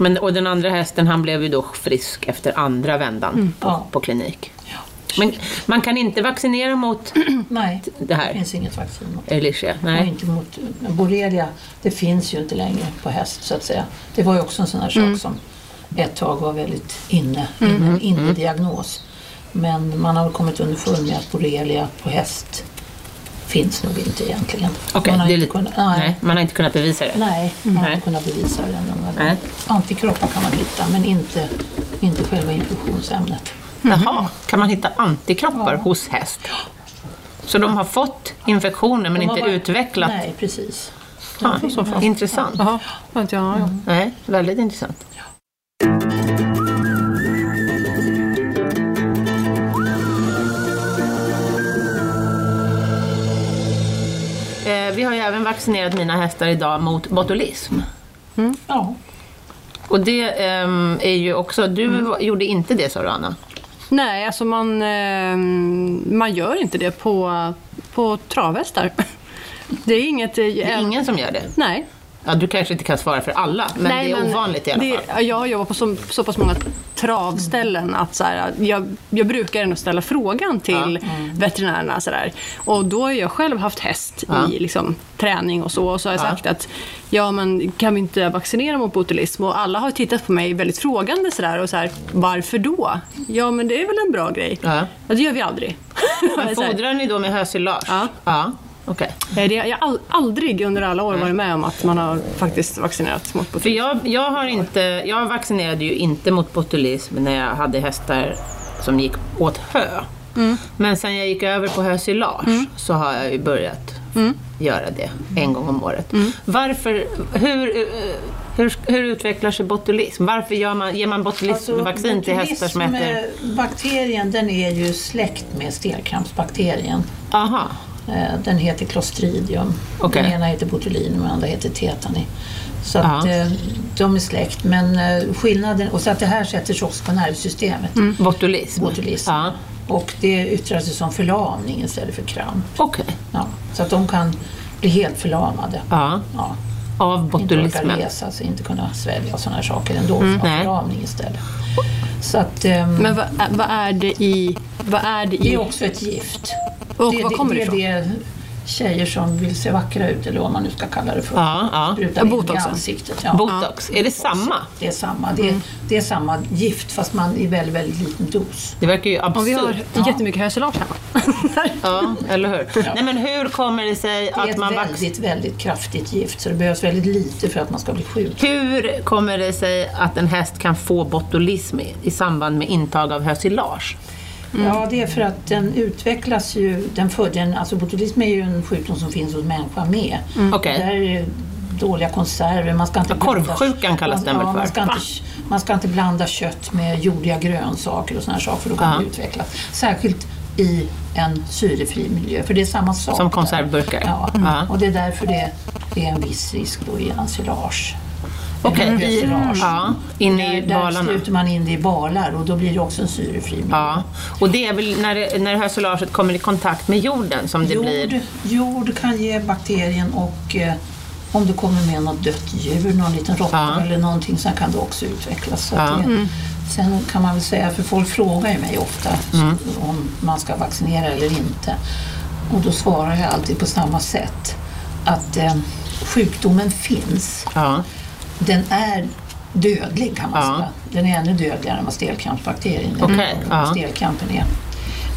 S1: Men, och den andra hästen han blev ju då frisk efter andra vändan på,
S3: Mm. Ja.
S1: på klinik.
S3: Ja.
S1: Men man kan inte vaccinera mot
S3: Nej,
S1: det
S3: det
S1: här?
S3: finns inget vaccin mot
S1: Elisha? Nej.
S3: Och inte mot borrelia, det finns ju inte längre på häst så att säga. Det var ju också en sån här
S1: Mm.
S3: sak som ett tag var väldigt inne, inne, inne diagnos. Men man har väl kommit underfund med att borrelia på häst finns nog inte egentligen.
S1: Okej,
S3: man har
S1: det är
S3: inte
S1: lite,
S3: kunnat, nej,
S1: nej.
S3: nej.
S1: man har inte kunnat bevisa det.
S3: man har
S1: Nej.
S3: inte kunnat bevisa det. än.
S1: Nej.
S3: Antikroppar kan man hitta, men inte, inte själva infektionsämnet.
S1: Jaha,
S3: Mm-hmm.
S1: kan man hitta antikroppar hos häst? Så de har fått infektioner men
S3: De har
S1: inte
S3: bara-
S1: utvecklat?
S3: Nej, precis.
S1: Ha, intressant.
S2: Jaha, har inte jag en aning om.
S1: Nej, väldigt intressant. Eh, Vi har ju även vaccinerat mina hästar idag mot botulism.
S3: Ja.
S1: Och det ehm, är ju också, du
S3: Mm.
S1: var- gjorde inte det sa du Anna?
S2: Nej, alltså man, eh, man gör inte det på, på travhästar. Det är inget... eh,
S1: Det är ingen som gör det?
S2: Nej.
S1: Ja, du kanske inte kan svara för alla, men
S2: Nej,
S1: det är ovanligt i alla
S2: det-
S1: fall.
S2: ja, Jag har jobbat på så, så pass många travställen att så här, jag, jag brukar ändå ställa frågan till
S1: mm.
S2: veterinärerna. Så där. Och då har jag själv haft häst
S1: Ja.
S2: i liksom, träning och så. Och så har jag
S1: Ja.
S2: sagt att ja, men, kan vi inte vaccinera mot botulism? Och alla har tittat på mig väldigt frågande så där, och så här, varför då? Ja, men det är väl en bra grej.
S1: Ja.
S2: det gör vi aldrig.
S1: Men
S2: Så här,
S1: fodrar ni då med hösilage?
S2: Ja.
S1: ja. Okej.
S2: eh, det, jag har all- aldrig under alla år varit med om att man har faktiskt vaccinerat mot botulism.
S1: För jag, jag, har inte, jag vaccinerade ju inte mot botulism när jag hade hästar som gick åt hö.
S2: Mm.
S1: Men sen jag gick över på hösilage så har jag ju börjat
S2: Mm.
S1: göra det en gång om året. Varför, hur, eh, hur, hur utvecklar sig botulism? Varför gör man, ger man botulismvaccin Alltså, till hästar som
S3: Alltså, botulism,
S1: äter...
S3: eh, Bakterien den är ju släkt med stelkrampsbakterien.
S1: Aha,
S3: Eh, Den heter Clostridium.
S1: Okej.
S3: Den ena heter botulinum och den andra heter tetani. Så att,
S1: Ja.
S3: eh, de är släkt. Men eh, skillnaden, och så att det här sätter sig också på nervsystemet.
S1: botulism.
S3: Botulism.
S1: Mm. Ja.
S3: Och det yttrar sig som förlamning istället för kramp.
S1: Okej.
S3: Ja. Så att de kan bli helt förlamade.
S1: Ja.
S3: Ja.
S1: Av
S3: Inte orka
S1: botulismen.
S3: resa sig, inte kunna svälja och sådana här saker ändå. Mm.
S1: Nej.
S3: Förlamning istället. Så att, ehm,
S2: Men vad, är- vad är det i... Vad är det
S3: Det
S2: i
S1: Mm.
S3: är också ett gift.
S2: Och
S3: det,
S2: var kommer det
S3: det, det är det tjejer som vill se vackra ut, eller vad man nu ska kalla det för.
S1: Ja, ja.
S3: Sprutar
S2: Ja,
S3: in i
S2: botoxen.
S3: ansiktet. Ja.
S1: Botox, Mm. är det samma?
S3: Det är samma. Det, är, det är samma gift fast man i väldigt, väldigt liten dos.
S1: Det verkar ju
S2: Och vi har
S1: absurt.
S2: jättemycket höselage hemma.
S1: Ja, eller hur? Nej, men hur kommer det sig
S3: Det är
S1: att
S3: ett
S1: man vax...
S3: väldigt, väldigt kraftigt gift så det behövs väldigt lite för att man ska bli sjuk.
S1: Hur kommer det sig att en häst kan få botulism i- i samband med intag av hösilage? Mm.
S3: Ja, det är för att den utvecklas ju. Den för, den, alltså botulism är ju en sjukdom som finns hos människan med.
S1: Mm. Okej.
S3: Där är det dåliga konserver. Man ska inte
S1: Ja, korvsjukan kallas den väl
S3: man, ja,
S1: för?
S3: Man ska, inte, man ska inte blanda kött med jordiga grönsaker och sådana saker för då kan
S1: Ja.
S3: det utvecklas. Särskilt i en syrefri miljö, för det är samma sak.
S1: Som
S3: där.
S1: konservburkar? Mm.
S3: Ja,
S1: Ja.
S3: och det är därför det, det är en viss risk då i ensilage.
S1: Okej,
S3: Eller
S1: i-
S3: ensilage.
S1: ja, inne i
S3: Där- där
S1: balarna.
S3: sluter man in det i balar och då blir det också en syrefri miljö.
S1: Ja, och det är väl när, det- när hösilaget kommer i kontakt med jorden som det blir...
S3: Jord, jord kan ge bakterien och eh, om det kommer med något dött djur, någon liten råtta
S1: Ja.
S3: eller någonting så kan det också utvecklas. Så att
S1: Ja. Mm.
S3: det, Sen kan man väl säga, för folk frågar ju mig ofta
S1: Mm.
S3: om man ska vaccinera eller inte. Och då svarar jag alltid på samma sätt. Att eh, sjukdomen finns.
S1: Ja,
S3: Den är dödlig kan man
S1: Ja.
S3: säga. Den är ännu dödligare än vad stelkrampsbakterien är.
S1: Okej, ja.
S3: Stelkrampen är.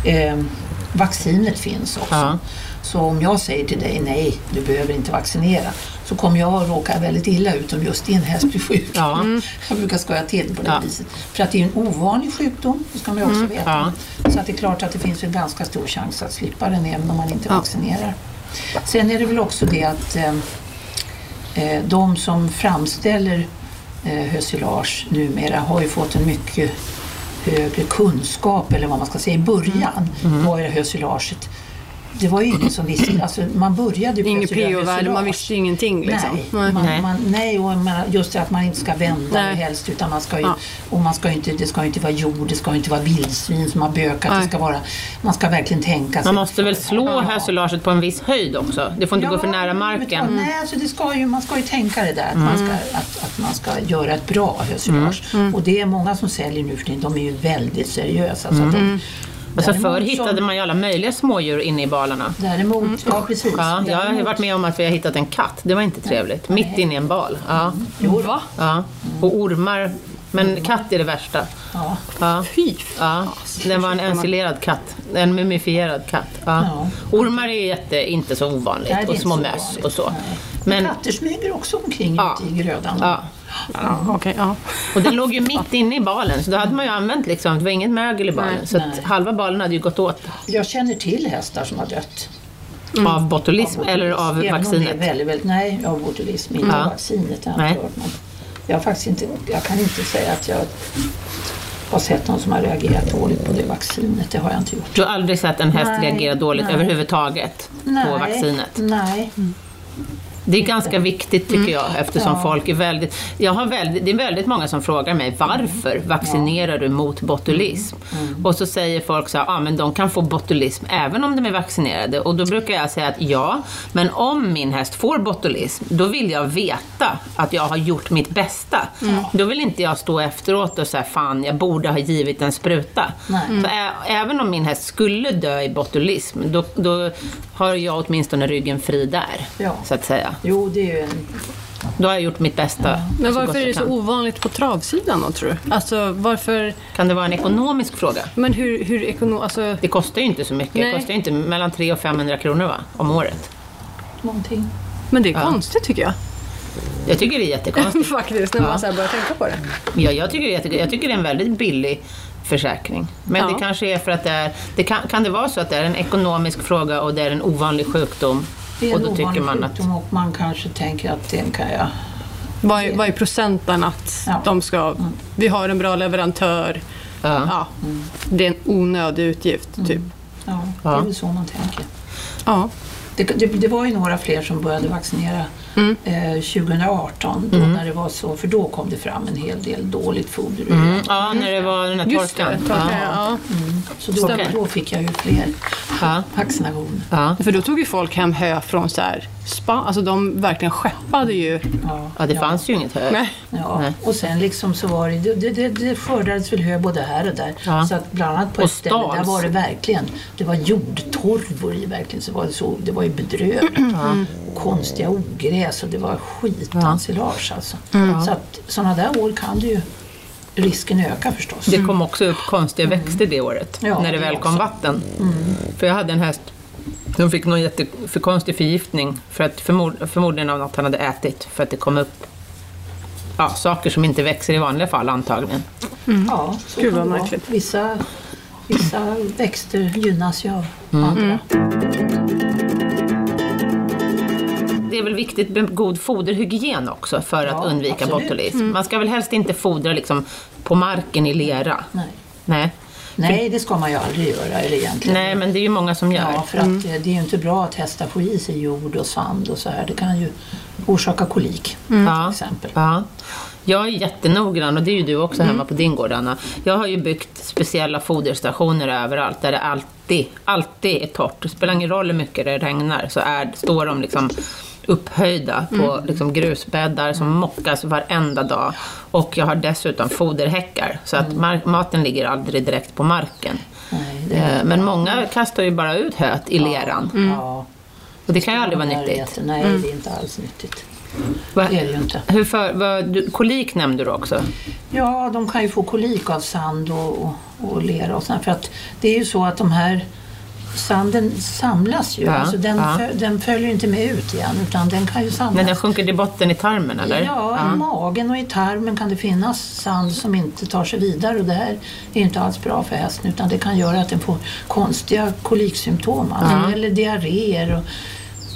S3: Ehm, vaccinet finns också.
S1: Ja.
S3: Så om jag säger till dig nej, du behöver inte vaccinera, så kommer jag råka väldigt illa ut om just din häst blir sjuk.
S1: Ja. Mm.
S3: Jag brukar skoja till det på det
S1: Ja. Mm.
S3: viset. För att det är en ovanlig sjukdom, det ska man ju också veta. Så att det är klart att det finns en ganska stor chans att slippa den även om man inte vaccinerar. Sen är det väl också det att ehm, Eh, de som framställer eh, hösilage numera har ju fått en mycket högre kunskap, eller vad man ska säga, i början
S2: Mm.
S3: var ju hösilaget det var ju ingen som visste, alltså man började ju
S2: Inget
S3: plötsligt göra
S2: priovärde, man
S3: hösilage.
S2: visste ju ingenting. Liksom.
S3: Nej, man,
S1: Nej.
S3: man, nej och jag menar, just det att man inte ska vända
S2: Nej.
S3: det helst utan man ska ju,
S2: Ja.
S3: och man ska ju inte, det ska ju inte vara jord, det ska ju inte vara vildsvin som har bökat, det
S2: Nej.
S3: ska vara, man ska verkligen tänka sig.
S1: man måste väl slå hösilaget på en viss höjd också? Det får inte gå för nära marken. Mm.
S3: men- Nej, alltså det ska ju, man ska ju tänka det där att, man, ska, att, att man ska göra ett bra hösilage. Och det är många som säljer nu för tiden, de är ju väldigt seriösa. Så att de,
S1: Mm, Alltså
S3: däremot
S1: förr
S3: som-
S1: hittade man ju alla möjliga smådjur inne i balarna.
S3: Däremot, ja precis.
S1: Ja, jag har ju
S3: Däremot-
S1: varit med om att vi har hittat en katt. Det var inte trevligt. Mitt inne i en bal. Ja.
S2: Jo, va?
S1: Ja. Och ormar. Men katt är det värsta.
S3: ja,
S1: Ja.
S2: Fy!
S1: Ja, den var en ensilerad katt. En mumifierad katt. Ja. Ormar är jätte, inte så ovanligt
S3: Nej, det är
S1: och
S3: inte
S1: små
S3: så
S1: möss
S3: vanligt.
S1: och så.
S3: Nej.
S1: Men,
S3: Katter smyger också omkring
S1: Ja.
S3: ute i grödan.
S1: ja.
S2: Ja, okej, ja.
S1: Och den låg ju mitt inne i balen så då hade man ju använt liksom, det var inget mögel i balen.
S2: Nej,
S1: så att
S3: nej.
S1: halva balen hade ju gått åt
S3: Jag känner till hästar som har dött. Mm.
S1: av botulism eller av
S3: Även Om det
S1: vaccinet.
S3: är väldigt, väldigt, nej, av botulism, inte
S1: Ja.
S3: av vaccinet. Jag, har
S1: Nej.
S3: inte hört någon. jag, har faktiskt inte, jag kan inte säga att jag har sett någon som har reagerat dåligt på det vaccinet. Det har jag inte gjort.
S1: Du har aldrig sett en häst
S3: Nej,
S1: reagera dåligt
S3: nej.
S1: överhuvudtaget på
S3: Nej,
S1: vaccinet?
S3: Nej.
S1: Det är ganska viktigt tycker jag eftersom
S3: Mm. Ja.
S1: folk är väldigt, jag har väldigt... Det är väldigt många som frågar mig varför vaccinerar du
S3: Mm.
S1: mot botulism? Och så säger folk så här, ah, men de kan få botulism även om de är vaccinerade. Och då brukar jag säga att ja, men om min häst får botulism, då vill jag veta att jag har gjort mitt bästa.
S3: Mm.
S1: Då vill inte jag stå efteråt och säga fan, jag borde ha givit en spruta.
S3: Nej. Mm.
S1: Så ä- även om min häst skulle dö i botulism, då, då har jag åtminstone ryggen fri där.
S3: Ja.
S1: Så att säga.
S3: Jo, det är ju en...
S1: Då har jag gjort mitt bästa.
S2: Men
S1: så gott
S2: varför är
S1: jag
S2: det så
S1: kan.
S2: ovanligt på travsidan då, tror du? Alltså, varför...
S1: Kan det vara en ekonomisk fråga?
S2: Men hur, hur ekonomiskt... Alltså,
S1: Det kostar ju inte så mycket. Det
S2: Nej.
S1: kostar ju inte mellan 300 och 500 kronor va? om året.
S3: Någonting.
S2: men det är konstigt tycker jag.
S1: Jag tycker det är jättekonstigt.
S2: Faktiskt, när man så här börjar tänka på det.
S1: Ja, jag, tycker det är jätte... jag tycker det är en väldigt billig försäkring. Men
S2: Ja.
S1: det kanske är för att det är... Det kan, kan det vara så att det är en ekonomisk fråga och det är en ovanlig sjukdom?
S3: Det är
S1: och
S3: en
S1: då tycker
S3: ovanlig
S1: man att...
S3: sjukdom och man kanske tänker att den kan jag...
S2: Vad är, vad är procenten att
S3: Ja.
S2: de ska... Vi har en bra leverantör.
S1: Ja.
S2: Mm. Ja. Det är en onödig utgift, typ.
S3: Ja,
S1: Ja.
S3: det är väl så man tänker.
S2: Ja.
S3: Det, det, det var ju några fler som började vaccinera
S1: Mm.
S3: eh, 2018, då när det var så, för då kom det fram en hel del dåligt foder ur
S1: Mm. Ja, när det var den här
S2: Just det,
S1: torkan.
S2: torka,
S1: ja.
S2: ja.
S3: Så då,
S1: Stämmer.
S3: då fick jag ju fler
S1: Ja.
S3: vaccinationer.
S1: Ja.
S2: För då tog ju folk hem hö från så här spa, alltså de verkligen skeppade ju.
S3: Ja,
S1: ja, det fanns ju inget hö.
S2: Nej.
S3: Ja.
S1: Nej.
S3: Och sen liksom så var det, det- det, det, det skördades väl hö både här och där.
S1: Ja.
S3: Så att bland annat på
S1: Och
S3: ett ställe, där
S1: stals.
S3: var det verkligen, det var jordtorvor i verkligen, så var det, så, det var ju bedrövligt. Och Konstiga ogräs och det var skitensilage alltså.
S1: Mm.
S3: Så att sådana där år kan det ju risken öka förstås.
S1: Det kom också upp konstiga växter det året,
S3: Mm. Ja,
S1: när det
S3: det
S1: väl kom
S3: också. Mm.
S1: vatten. För jag hade en häst, de fick någon jättekonstig förgiftning, för att förmod, förmodligen av något han hade ätit, för att det kom upp ja, saker som inte växer i vanliga fall antagligen.
S3: Mm. Ja, så
S2: Gud,
S3: kan
S2: vad
S3: det vara.
S2: märkligt.
S3: Vissa, vissa växter gynnas ju av
S1: Mm.
S3: andra.
S2: Mm.
S1: Det är väl viktigt med god foderhygien också för att
S3: Ja,
S1: undvika
S3: absolut. Mm.
S1: botulism. Man ska väl helst inte fodra liksom på marken i lera.
S3: Nej.
S1: Nej.
S3: Nej, det ska man ju aldrig göra eller egentligen.
S1: Nej, men det Mm. är ju många som gör.
S3: Ja, för att eh, det är ju inte bra att hästar får i sig jord och sand och så här. Det kan ju orsaka kolik Mm. till exempel.
S1: Mm. Ja.
S3: Mm.
S1: Jag är jättenoggrann och det är ju du också hemma på din gård Anna. Jag har ju byggt speciella foderstationer överallt där det alltid, alltid är torrt. Det spelar ingen roll hur mycket det regnar så är, står de liksom upphöjda på
S3: Mm.
S1: liksom grusbäddar som mockas varenda dag. Och jag har dessutom foderhäckar så att
S3: Mm.
S1: mark- maten ligger aldrig direkt på marken.
S3: Nej, det,
S1: Eh, Men många kastar ju bara ut höet i leran
S3: ja,
S1: och det kan ju aldrig vara
S3: Mm. det är
S1: nyttigt. Mm.
S3: jätte- Nej, det är inte alls nyttigt.
S1: Va-
S3: Det är det ju inte.
S1: Hur för, vad, du, kolik nämnde du också.
S3: Ja, de kan ju få kolik av sand och, och, och lera och sånt. För att det är ju så att de här sanden samlas ju.
S1: Ja,
S3: Alltså den,
S1: ja.
S3: fö- den följer inte med ut igen utan den kan ju samlas.
S1: Men den sjunker till botten i tarmen eller?
S3: Ja, i magen och i tarmen kan det finnas sand som inte tar sig vidare och det här är inte alls bra för hästen utan det kan göra att den får konstiga koliksymptom alltså, eller diarréer. Och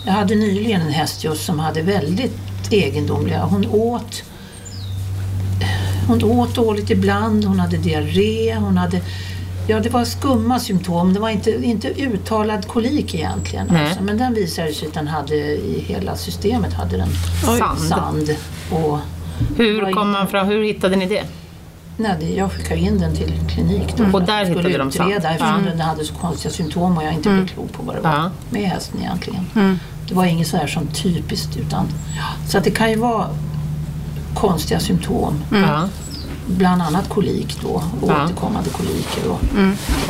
S3: jag hade nyligen en häst just som hade väldigt egendomliga, hon åt hon åt dåligt ibland, hon hade diarré, hon hade Ja, det var skumma symptom. Det var inte, inte uttalad kolik egentligen.
S1: Nej.
S3: Alltså. Men den visade sig att den hade i hela systemet hade den
S1: Oj.
S3: sand. sand. Och,
S1: Hur
S3: Vad
S1: kom man fram, hur hittade ni det?
S3: nej, det- jag skickade in den till klinik. Då,
S1: Mm. Och
S3: för att
S1: där
S3: jag skulle
S1: hittade de sand. Mm.
S3: utreda eftersom den hade så konstiga symptom och jag inte blev klok på vad det var
S1: Ja. Mm.
S3: med hästen egentligen. Det var inget så här som typiskt. Utan, så att det kan ju vara konstiga symptom.
S2: Mm.
S1: Ja.
S3: Bland annat kolik då, och
S1: Mm. Ja.
S3: återkommande koliker. Och,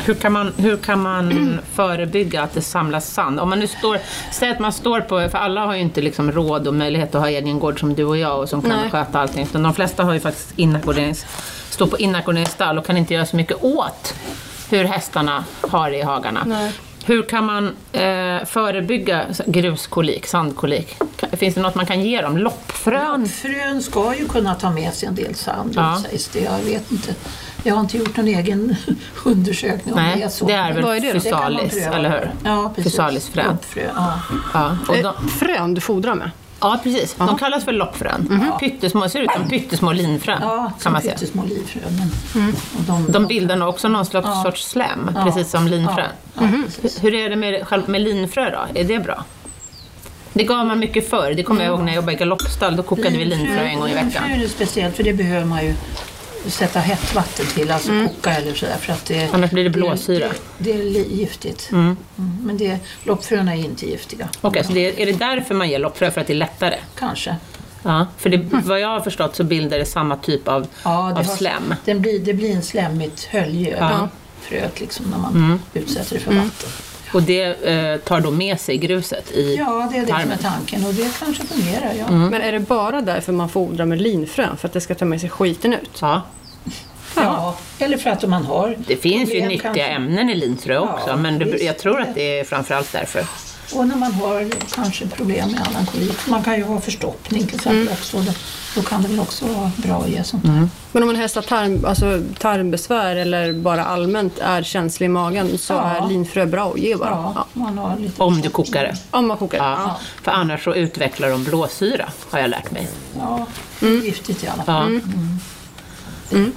S1: Hur kan man, hur kan man förebygga att det samlas sand? Om man nu står, säg att man står på, för alla har ju inte liksom råd och möjlighet att ha egen gård som du och jag och som kan
S2: Nej.
S1: sköta allting. Utan de flesta har ju faktiskt inackorderings, står på inackorderingsstall och kan inte göra så mycket åt hur hästarna har det i hagarna.
S2: Nej.
S1: Hur kan man eh, förebygga gruskolik, sandkolik? Kan- Finns det något man kan ge dem? Loppfrön?
S3: Frön ska ju kunna ta med sig en del sand,
S1: Ja.
S3: sägs det. Jag vet inte. Jag har inte gjort någon egen undersökning om
S1: Nej,
S3: det är så.
S1: det är
S3: Men
S1: väl
S2: Vad är det då?
S3: det kan man
S1: fysalis,
S3: pröva.
S1: eller hur?
S3: Ja, precis.
S1: Fysalisfrön.
S3: Loppfrö, ja.
S1: Ja, och de, Mm.
S2: Eh, Frön du fodrar med?
S1: ja precis. De kallas för loppfrön. Pyttesmå, ser ut som pyttesmå linfrön
S3: Mhm. Ja,
S1: kan man säga.
S3: som
S1: Mm.
S3: pyttesmå livfrön. Men, och de,
S1: De bildar nog också någon slags sorts slem, precis som linfrön. Mhm.
S3: ja, precis.
S1: Hur är det med, själv- med linfrö då? Är det bra? Det gav man mycket förr. Det kommer jag ihåg när jag jobbade i galoppstall. Då kokade vi linfrö en gång i
S3: Linfrö
S1: veckan.
S3: är det speciellt, för det behöver man ju sätta hett vatten till, alltså koka eller sådär. För att det,
S1: Mm. Annars blir det blåsyra.
S3: Det, det är li- giftigt. Mm, Men det, loppfröna är inte giftiga.
S1: Okej, så det, är det därför man ger loppfrö? För att det är lättare?
S3: Kanske.
S1: Ja, för det, vad jag har förstått så bildar det samma typ av,
S3: Ja, det,
S1: av
S3: har-
S1: slem.
S3: Den blir, det blir en slemmigt hölje över
S1: Ja. Mm.
S3: fröet liksom, när man utsätter det för vatten.
S1: Och det eh, tar då med sig gruset i
S3: Ja, det är det som är
S1: tarmen. Mm.
S3: tanken och det kanske fungerar. Ja.
S2: Men är det bara därför man fodrar med linfrön? För att det ska ta med sig skiten ut?
S1: Ja,
S3: Ja. Eller för att om man har
S1: Det finns ju
S3: problem
S1: nyttiga
S3: kanske.
S1: ämnen i linfrö också,
S3: Ja,
S1: men det,
S3: visst.
S1: jag tror att det är framförallt därför.
S3: Och när man har kanske problem med annan kolik. Man kan ju ha förstoppning till
S1: Mm.
S3: exempel också. Då, då kan det väl också vara bra att ge sånt här.
S2: Men om en häst har tarm, alltså tarmbesvär eller bara allmänt är känslig i magen så
S3: Ja.
S2: är linfrö bra att ge bara.
S3: Ja,
S2: Ja.
S3: man har lite
S1: Om du kokar det.
S2: Om man kokar.
S1: Ja.
S2: Ja.
S1: För annars så utvecklar de blåsyra, har jag lärt mig.
S2: Mm.
S3: Ja, det är giftigt i alla fall.
S1: Ja. Mm.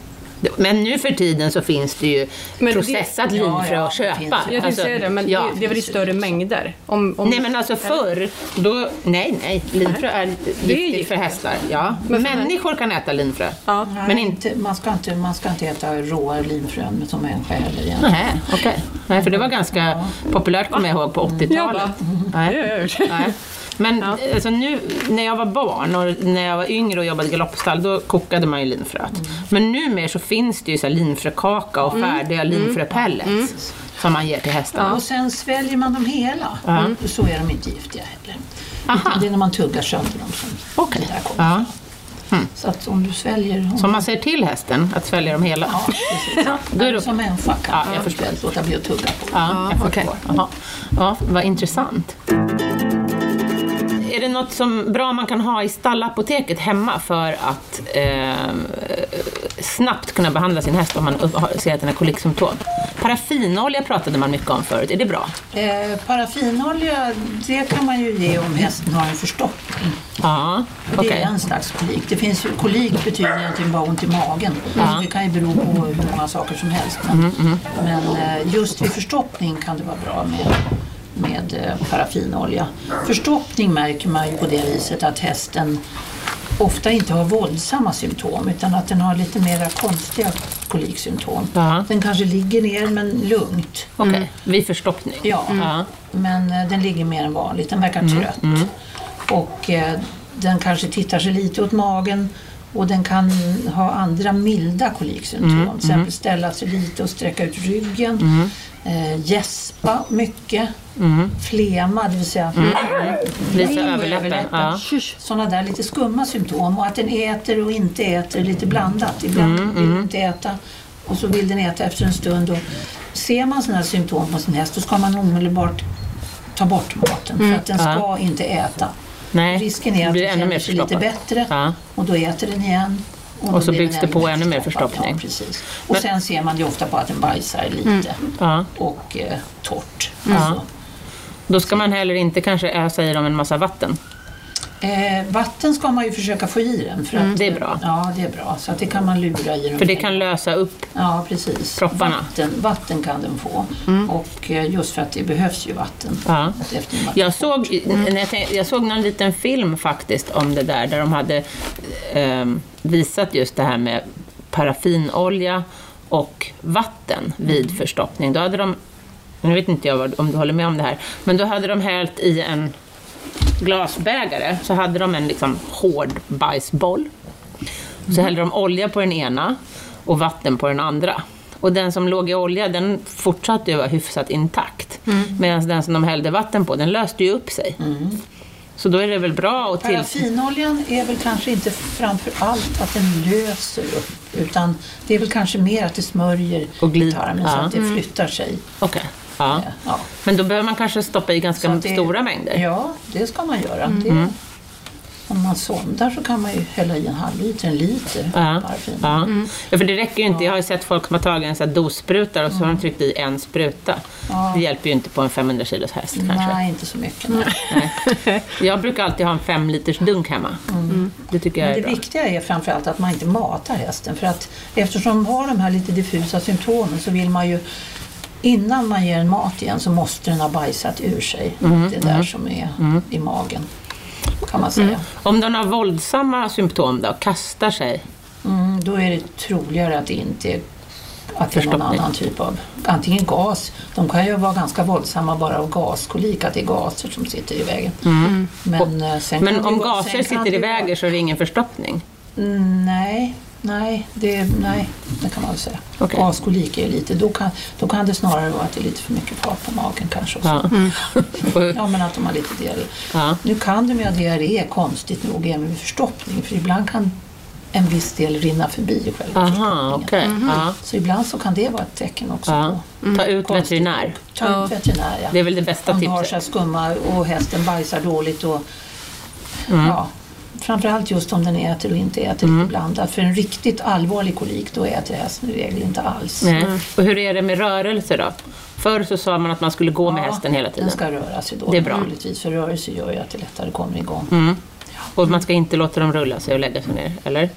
S1: Men nu för tiden så finns det ju
S2: Men det-
S1: processat
S3: Ja, ja,
S1: linfrö att
S3: det
S1: köpa.
S3: finns.
S2: Jag tänkte
S1: Alltså,
S2: säga det, men
S1: ja.
S2: det, det är väl i större mängder? Om, om,
S1: Nej men alltså förr, då, nej nej, linfrö är giftigt
S2: giftigt.
S1: för hästar. Ja.
S2: Men för
S1: Människor kan äta linfrö.
S2: ja.
S3: Nej,
S1: Men
S3: men
S1: inte-
S3: inte, man, ska inte, man ska inte äta råa linfrön som människa heller igen.
S1: Nej, okej. Nej, för det var ganska populärt kommer jag ihåg på 80-talet. Nej. Nej. Men alltså, nu när jag var barn och när jag var yngre och jobbade i galoppstall, då kokade man ju linfröet.
S3: Mm.
S1: Men numera så finns det ju så här linfrökaka och färdiga
S3: Mm.
S1: linfröpellets som man ger till hästarna.
S3: Och sen sväljer man dem hela. Och så är de inte giftiga heller.
S1: Aha.
S3: Det är när man tuggar sönder dem som
S1: Okej.
S3: det där kommer.
S1: Ja.
S3: Så att om du sväljer... Om,
S1: Så om man säger till hästen att svälja dem hela.
S3: ja, precis.
S1: Då är det-
S3: Som människa kan
S1: Ja,
S3: man
S1: jag förstår.
S3: eventuellt låta bli att tugga på.
S1: Ja, jag
S2: okej.
S1: förstår. Jaha. Ja, vad intressant. Är det något som bra man kan ha i stallapoteket hemma för att eh, snabbt kunna behandla sin häst om man upp- har- ser att den har koliksymptom? Paraffinolja pratade man mycket om förut, är det bra?
S3: Eh, paraffinolja, det kan man ju ge om hästen har en förstoppning.
S1: Ja,
S3: Det
S1: okej.
S3: är en slags kolik. Det finns ju, kolik betyder egentligen bara ont i magen. Alltså, det kan ju bero på hur många saker som helst. Men,
S1: Mm,
S3: men eh, just vid förstoppning kan det vara bra med, med eh, paraffinolja. Förstoppning märker man ju på det viset att hästen ofta inte har våldsamma symptom utan att den har lite mera konstiga koliksymptom.
S1: Ja.
S3: Den kanske ligger ner men lugnt.
S1: Okej, vid förstoppning.
S3: Ja,
S1: Ja.
S3: Mm. men eh, den ligger mer än vanligt. Den verkar trött. Och eh, den kanske tittar sig lite åt magen och den kan ha andra milda koliksymptom. Till exempel ställa sig lite och sträcka ut ryggen. Eh, gäspa mycket. Flema, det vill säga
S1: Visa överläppen. Ja.
S3: sådana där lite skumma symptom och att den äter och inte äter lite blandat.
S1: Mm,
S3: Ibland vill den inte äta och så vill den äta efter en stund. Och ser man sådana här symptom på sin häst då ska man omedelbart ta bort maten för att den ska
S1: Mm, Ja.
S3: inte äta.
S1: Nej,
S3: Risken är att
S1: blir
S3: den
S1: ännu mer
S3: känner sig lite
S1: förstoppad.
S3: bättre
S1: Ja.
S3: och då äter den igen.
S1: Och
S3: då
S1: så
S3: blir den
S1: byggs det på ännu mer förstoppning.
S3: Ja, precis. Och sen ser man ju ofta på att den bajsar lite
S1: Ja.
S3: och eh, torrt. Alltså,
S1: Ja. Då ska man heller inte kanske ösa i dem en massa vatten.
S3: Eh, vatten ska man ju försöka få i den. För att,
S1: Mm, Det är bra.
S3: Ja, det är bra. Så att det kan man lura i den.
S1: För det kan lösa upp
S3: Ja, precis.
S1: Propparna. Mm.
S3: Vatten, vatten kan den få. Och eh, just för att det behövs ju vatten.
S1: Ja.
S3: Efter en vatten.
S1: Jag såg, när jag, tänkte, jag såg någon liten film faktiskt om det där, där de hade ehm, visat just det här med paraffinolja och vatten vid förstoppning. Då hade de, nu vet inte jag vad- om du håller med om det här, men då hade de hällt i en glasbägare, så hade de en liksom hård bajsboll.
S3: Mm.
S1: Så hällde de olja på den ena och vatten på den andra. Och den som låg i olja den fortsatte ju vara hyfsat intakt.
S3: Mm.
S1: Medan den som de hällde vatten på den löste ju upp sig. Så då är det väl bra att till...
S3: Paraffinoljan är väl kanske inte framför allt att den löser upp. Utan det är väl kanske mer att det smörjer
S1: Och glid-
S3: i tarmen
S1: ja.
S3: så att det flyttar sig.
S1: Okej. Ja.
S3: Ja.
S1: Men då behöver man kanske stoppa i
S3: Så
S1: ganska
S3: att det-
S1: stora mängder. Mm.
S3: Ja, det ska man göra. Det, om man sondar så kan man ju hälla i en halv liter, en liter
S1: Ja.
S3: paraffin.
S1: Ja. ja, för det räcker ju inte. Jag har ju sett folk som har tagit en sån här dospruta och så har
S3: Mm.
S1: de tryckt i en spruta. Det hjälper ju inte på en 500 kilos häst kanske.
S3: Nej, inte så mycket. Nej.
S1: Jag brukar alltid ha en fem liters dunk hemma. Det tycker jag
S3: Mm. Men
S1: är
S3: det
S1: bra.
S3: viktiga är framförallt att man inte matar hästen för att eftersom de har de här lite diffusa symptomen så vill man ju innan man ger en mat igen så måste den ha bajsat ur sig
S1: Mm,
S3: det där som är i magen kan man säga.
S1: Om den har våldsamma symptom då, kastar sig.
S3: Mm, då är det troligare att det inte är att det är någon
S1: Förstoppning.
S3: annan typ av, antingen gas, de kan ju vara ganska våldsamma bara av gaskolik, att det är gaser som sitter i vägen. Men, eh, sen kan
S1: Mm. Men
S3: det
S1: om
S3: ju vara- sen
S1: gaser
S3: kan
S1: sitter
S3: det
S1: i
S3: ju vara-
S1: vägen så är det ingen förstoppning.
S3: Mm, Nej, nej det, nej, det kan man väl säga.
S1: Okej.
S3: Gaskolik är lite, då kan, då kan det snarare vara att det är lite för mycket fart på magen kanske. och så.
S1: Ja. Och-
S3: Ja, men att de har lite diarré.
S1: Ja.
S3: Nu kan de ju ha diarré konstigt nog även vid förstoppning för ibland kan en viss del rinna förbi i själva
S1: Aha,
S3: förstoppningen.
S1: okej. Ja.
S3: Så ibland så kan det vara ett tecken också.
S1: Ja. Ta ut
S3: Mm-hmm. Mm. Konstigt.
S1: veterinär.
S3: på- Ta ut veterinär, ja.
S1: Det är väl det bästa
S3: Om du har
S1: tipset.
S3: så här skumma och hästen bajsar dåligt och
S1: Mm.
S3: ja, framförallt just om den äter och inte äter lite blandat. För en riktigt allvarlig kolik då äter hästen i regel inte alls.
S1: Nej. Och hur är det med rörelse då? Förr så sa man att man skulle gå med
S3: Ja,
S1: hästen hela tiden.
S3: Den ska röra sig då
S1: Det är bra. Mm,
S3: naturligtvis för rörelse gör ju att det lättare kommer igång.
S1: Och man ska inte låta dem rulla sig och lägga sig ner, eller?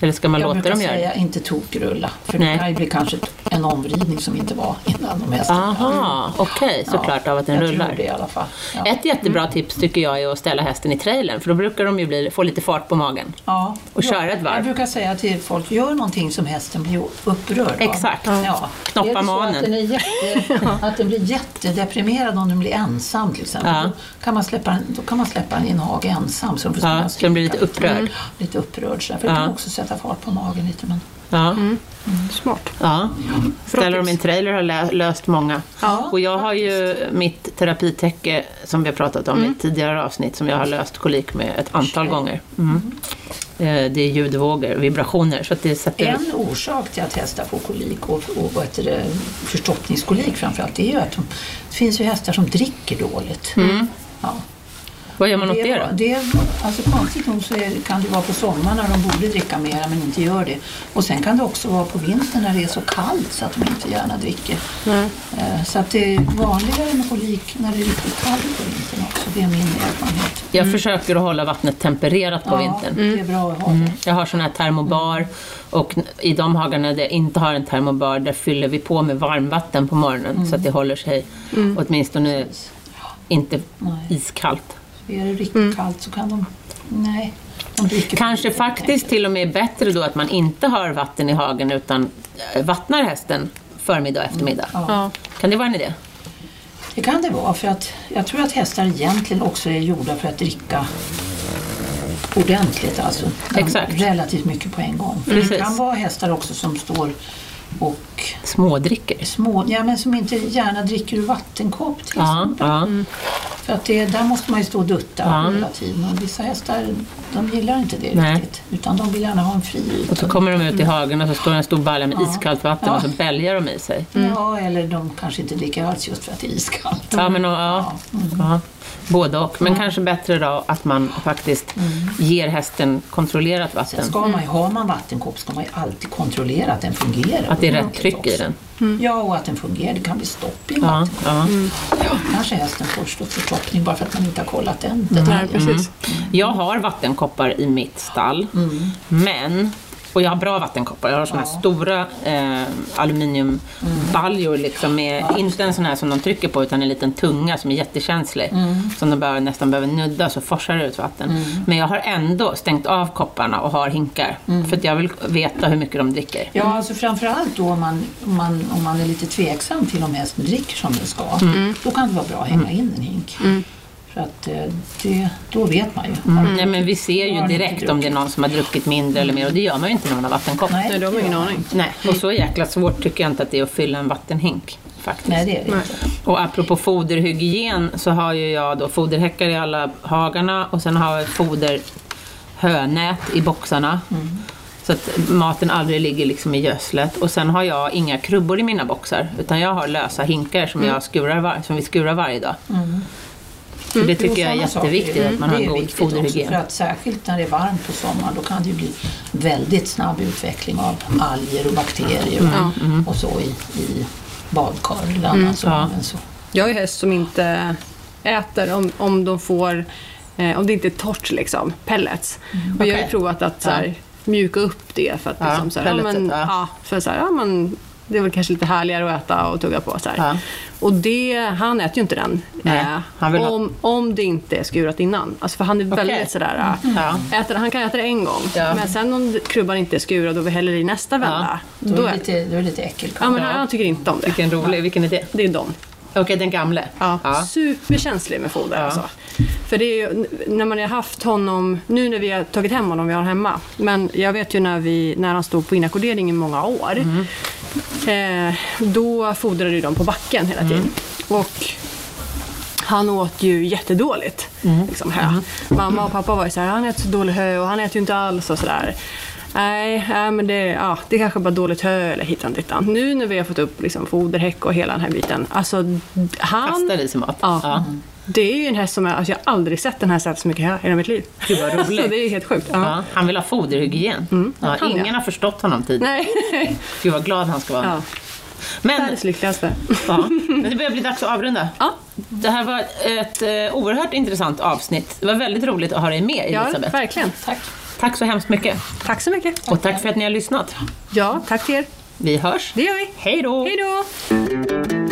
S1: Eller ska man
S3: jag
S1: låta
S3: brukar
S1: dem göra det?
S3: säga inte tokrulla, för
S1: Nej.
S3: det här blir kanske en omridning som inte var innan de här stod.
S1: Aha, okej, såklart av att den
S3: jag
S1: rullar.
S3: Tror det i alla fall. Ja. Mm.
S1: Ett jättebra tips tycker jag är att ställa hästen i trailern för då brukar de ju bli, få lite fart på magen.
S3: Ja.
S1: Och köra ett varv.
S3: Jag brukar säga till folk, gör någonting som hästen blir upprörd av.
S1: Exakt.
S3: Ja.
S1: Knoppa
S3: är det så
S1: manen.
S3: Att den, är jätte, att den blir jättedeprimerad om den blir ensam till exempel.
S1: Ja.
S3: Då, kan man släppa, den- då kan man släppa den i en hage ensam. Så den, får
S1: Ja,
S3: springa och
S1: så den blir lite
S3: skrika
S1: upprörd.
S3: Mm. Lite upprörd sådär. För det
S1: Ja.
S3: kan också sätta fart på magen lite. Men,
S1: Ja.
S2: Smart.
S1: Ja, ställer dem i en
S2: tips.
S1: trailer har lä- löst många.
S3: Ja,
S1: och jag har ju mitt terapitecken som vi har pratat om i ett tidigare avsnitt som jag har löst kolik med ett antal gånger. Mm. Eh, Det är ljudvågor, vibrationer. Så att det sätter...
S3: En orsak till att hästar får kolik och, och vad heter det, förstoppningskolik framförallt det är ju att de, det finns ju hästar som dricker dåligt.
S1: Mm.
S3: Ja.
S1: Vad gör man åt det
S3: det,
S1: då?
S3: det, alltså konstigt nog så är, kan det vara på sommaren när de borde dricka mer men inte gör det. Och sen kan det också vara på vintern när det är så kallt så att de inte gärna dricker. Eh, Så att det är vanligare med kolik när det är riktigt kallt på vintern också. Det är min erfarenhet.
S1: Jag försöker att hålla vattnet tempererat på vintern.
S3: Ja, det är bra att ha det.
S1: Jag har sådana här termobar och n- i de hagarna där jag inte har en termobar där fyller vi på med varmvatten på morgonen så att det håller sig åtminstone inte
S3: Nej.
S1: iskallt.
S3: Är det riktigt kallt så kan de... Nej, de dricker
S1: Mm. Kanske
S3: för lite,
S1: faktiskt till och med bättre då att man inte har vatten i hagen utan eh, vattnar hästen förmiddag och eftermiddag.
S3: Mm.
S2: Ja.
S1: Kan det vara en idé?
S3: Det kan det vara, för att jag tror att hästar egentligen också är gjorda för att dricka ordentligt, alltså
S1: Exakt.
S3: relativt mycket på en gång. För
S1: Precis.
S3: det kan vara hästar också som står och
S1: Smådricker.
S3: små, ja, men som inte gärna dricker ur vattenkopp till
S1: Ja,
S3: exempel.
S1: ja.
S3: För att det, där måste man ju stå och dutta
S1: Ja.
S3: hela tiden och vissa hästar de gillar inte det
S1: Nej.
S3: riktigt utan de vill gärna ha en fri
S1: Och så
S3: yta.
S1: kommer de ut i hagen och så står en stor balja med iskallt vatten
S3: Mm. Ja.
S1: och så bälgar de i sig.
S3: Ja, eller de kanske inte dricker alls just för att det är iskallt.
S1: Mm. Ja, men, och, ja.
S3: Mm.
S1: Ja. Både och. Men kanske bättre då att man faktiskt ger hästen kontrollerat
S3: Sen
S1: vatten.
S3: Mm. ska man ju, har man vattenkopp ska man ju alltid kontrollera att den fungerar.
S1: Att det är rätt
S3: ordentligt
S1: tryck i
S3: också.
S1: den.
S2: Mm.
S3: Ja, och att den fungerar. Det kan bli stopp i en
S1: Ja,
S3: vattenkopp.
S1: ja.
S3: Ja, kanske hästen får stå förstoppning bara för att man inte har kollat den
S2: Nej,
S3: detaljen.
S1: Mm.
S2: precis.
S1: Jag har vattenkoppar i mitt stall, men och jag har bra vattenkoppar. Jag har såna här stora eh, aluminiumbaljor liksom med, inte en sån här som de trycker på utan en liten tunga som är jättekänslig. Som de bara, nästan behöver nudda så forsar det ut vatten. Men jag har ändå stängt av kopparna och har hinkar. För att jag vill veta hur mycket de dricker.
S3: Ja, alltså framförallt då om man, om, man, om man är lite tveksam till om hästen dricker som den ska.
S2: Mm.
S3: Då kan det vara bra att hänga in en hink. För att eh, det, då vet man ju.
S2: Mm.
S1: Nej, men vi ser
S3: Har
S1: ju
S3: de
S1: direkt
S3: inte
S1: om det är någon som har druckit mindre eller mer och det gör man ju inte när man har vattenkopp.
S2: Nej, då har man ingen aning.
S1: Nej, och så jäkla svårt tycker jag inte att det är att fylla en vattenhink. Faktiskt.
S3: Nej, det är det inte.
S1: Och apropå foderhygien så har ju jag då foderhäckar i alla hagarna och sen har jag ett foderhönät i boxarna. Så att maten aldrig ligger liksom i gödslet. Och sen har jag inga krubbor i mina boxar utan jag har lösa hinkar som, jag skurar var- som vi skurar varje dag. Så det tycker jag är
S3: Sådana saker.
S1: jätteviktigt att man
S3: Det
S1: har en
S3: är
S1: god
S3: viktigt också,
S1: foderhygien.
S3: För att särskilt när det är varmt på sommaren då kan det ju bli väldigt snabb utveckling av alger och bakterier
S1: Mm.
S3: och, och så i, i badkar eller annat som
S1: Mm. ja.
S3: används. så.
S2: Jag är häst som inte äter om, om de får, eh, om det inte är torrt liksom, pellets. Och jag har ju
S1: Mm. Okej.
S2: provat att så här, mjuka upp det för att
S1: Ja,
S2: liksom, så här, ja,
S1: pelletet,
S2: men,
S1: ja.
S2: ja, för så här, ja, men, det är väl kanske lite härligare att äta och tugga på. Så här.
S1: Ja.
S2: Och det, han äter ju inte den. eh,
S1: Nej, han vill ha-
S2: om, om det inte är skurat innan. Alltså, för han är
S1: Okej. Mm.
S2: väldigt sådär, äh,
S1: Ja.
S2: äter, han kan äta det en gång.
S1: Ja.
S2: Men sen om krubban inte är skurad och vi häller i nästa vända.
S3: Då,
S2: Då
S3: är
S2: är,
S3: det lite, då är det lite äckelkaka.
S2: ja, men han, han tycker inte om det.
S1: Vilken rolig, vilken idé.
S2: Det är de.
S1: Okej, den gamle.
S2: Ja,
S1: Ja.
S2: Superkänslig med foder alltså. För det är ju, n- när man har haft honom, nu när vi har tagit hem honom, vi har hemma. Men jag vet ju när, vi, när han stod på inackordering i många år.
S1: Mm.
S2: Eh, då fodrade ju de på backen hela tiden. Och han åt ju jättedåligt.
S1: Mm.
S2: Liksom, hö. Mamma och pappa var ju såhär, han äter så dålig hö och han äter ju inte alls och sådär. Nej, nej, men det, ja, det är kanske bara dåligt hö eller hitan dittan. Nu när vi har fått upp liksom, foderhäck och hela den här biten. Alltså, han...
S1: Kastar i sig mat.
S2: Ja. Det är ju en häst som jag, alltså, jag har aldrig sett den här så här så mycket hö i hela mitt liv.
S1: Gud, vad roligt.
S2: Alltså, det är helt sjukt. Ja.
S1: Ja, han vill ha foderhygien. Ja,
S2: han,
S1: ingen
S2: ja.
S1: har förstått honom tidigare.
S2: Nej.
S1: Gud vad glad han ska vara.
S2: Ja.
S1: Men,
S2: Världens lyckligaste.
S1: ja, men det börjar bli dags att avrunda.
S2: Ja,
S1: Det här var ett eh, oerhört intressant avsnitt. Det var väldigt roligt att ha dig med
S2: ja
S1: Elisabeth.
S2: verkligen.
S3: Tack.
S1: Tack så hemskt mycket.
S2: Tack så mycket.
S1: Och tack för att ni har lyssnat.
S2: Ja, tack till er.
S1: Vi hörs.
S2: Det gör vi.
S1: Hej då!
S2: Hej då!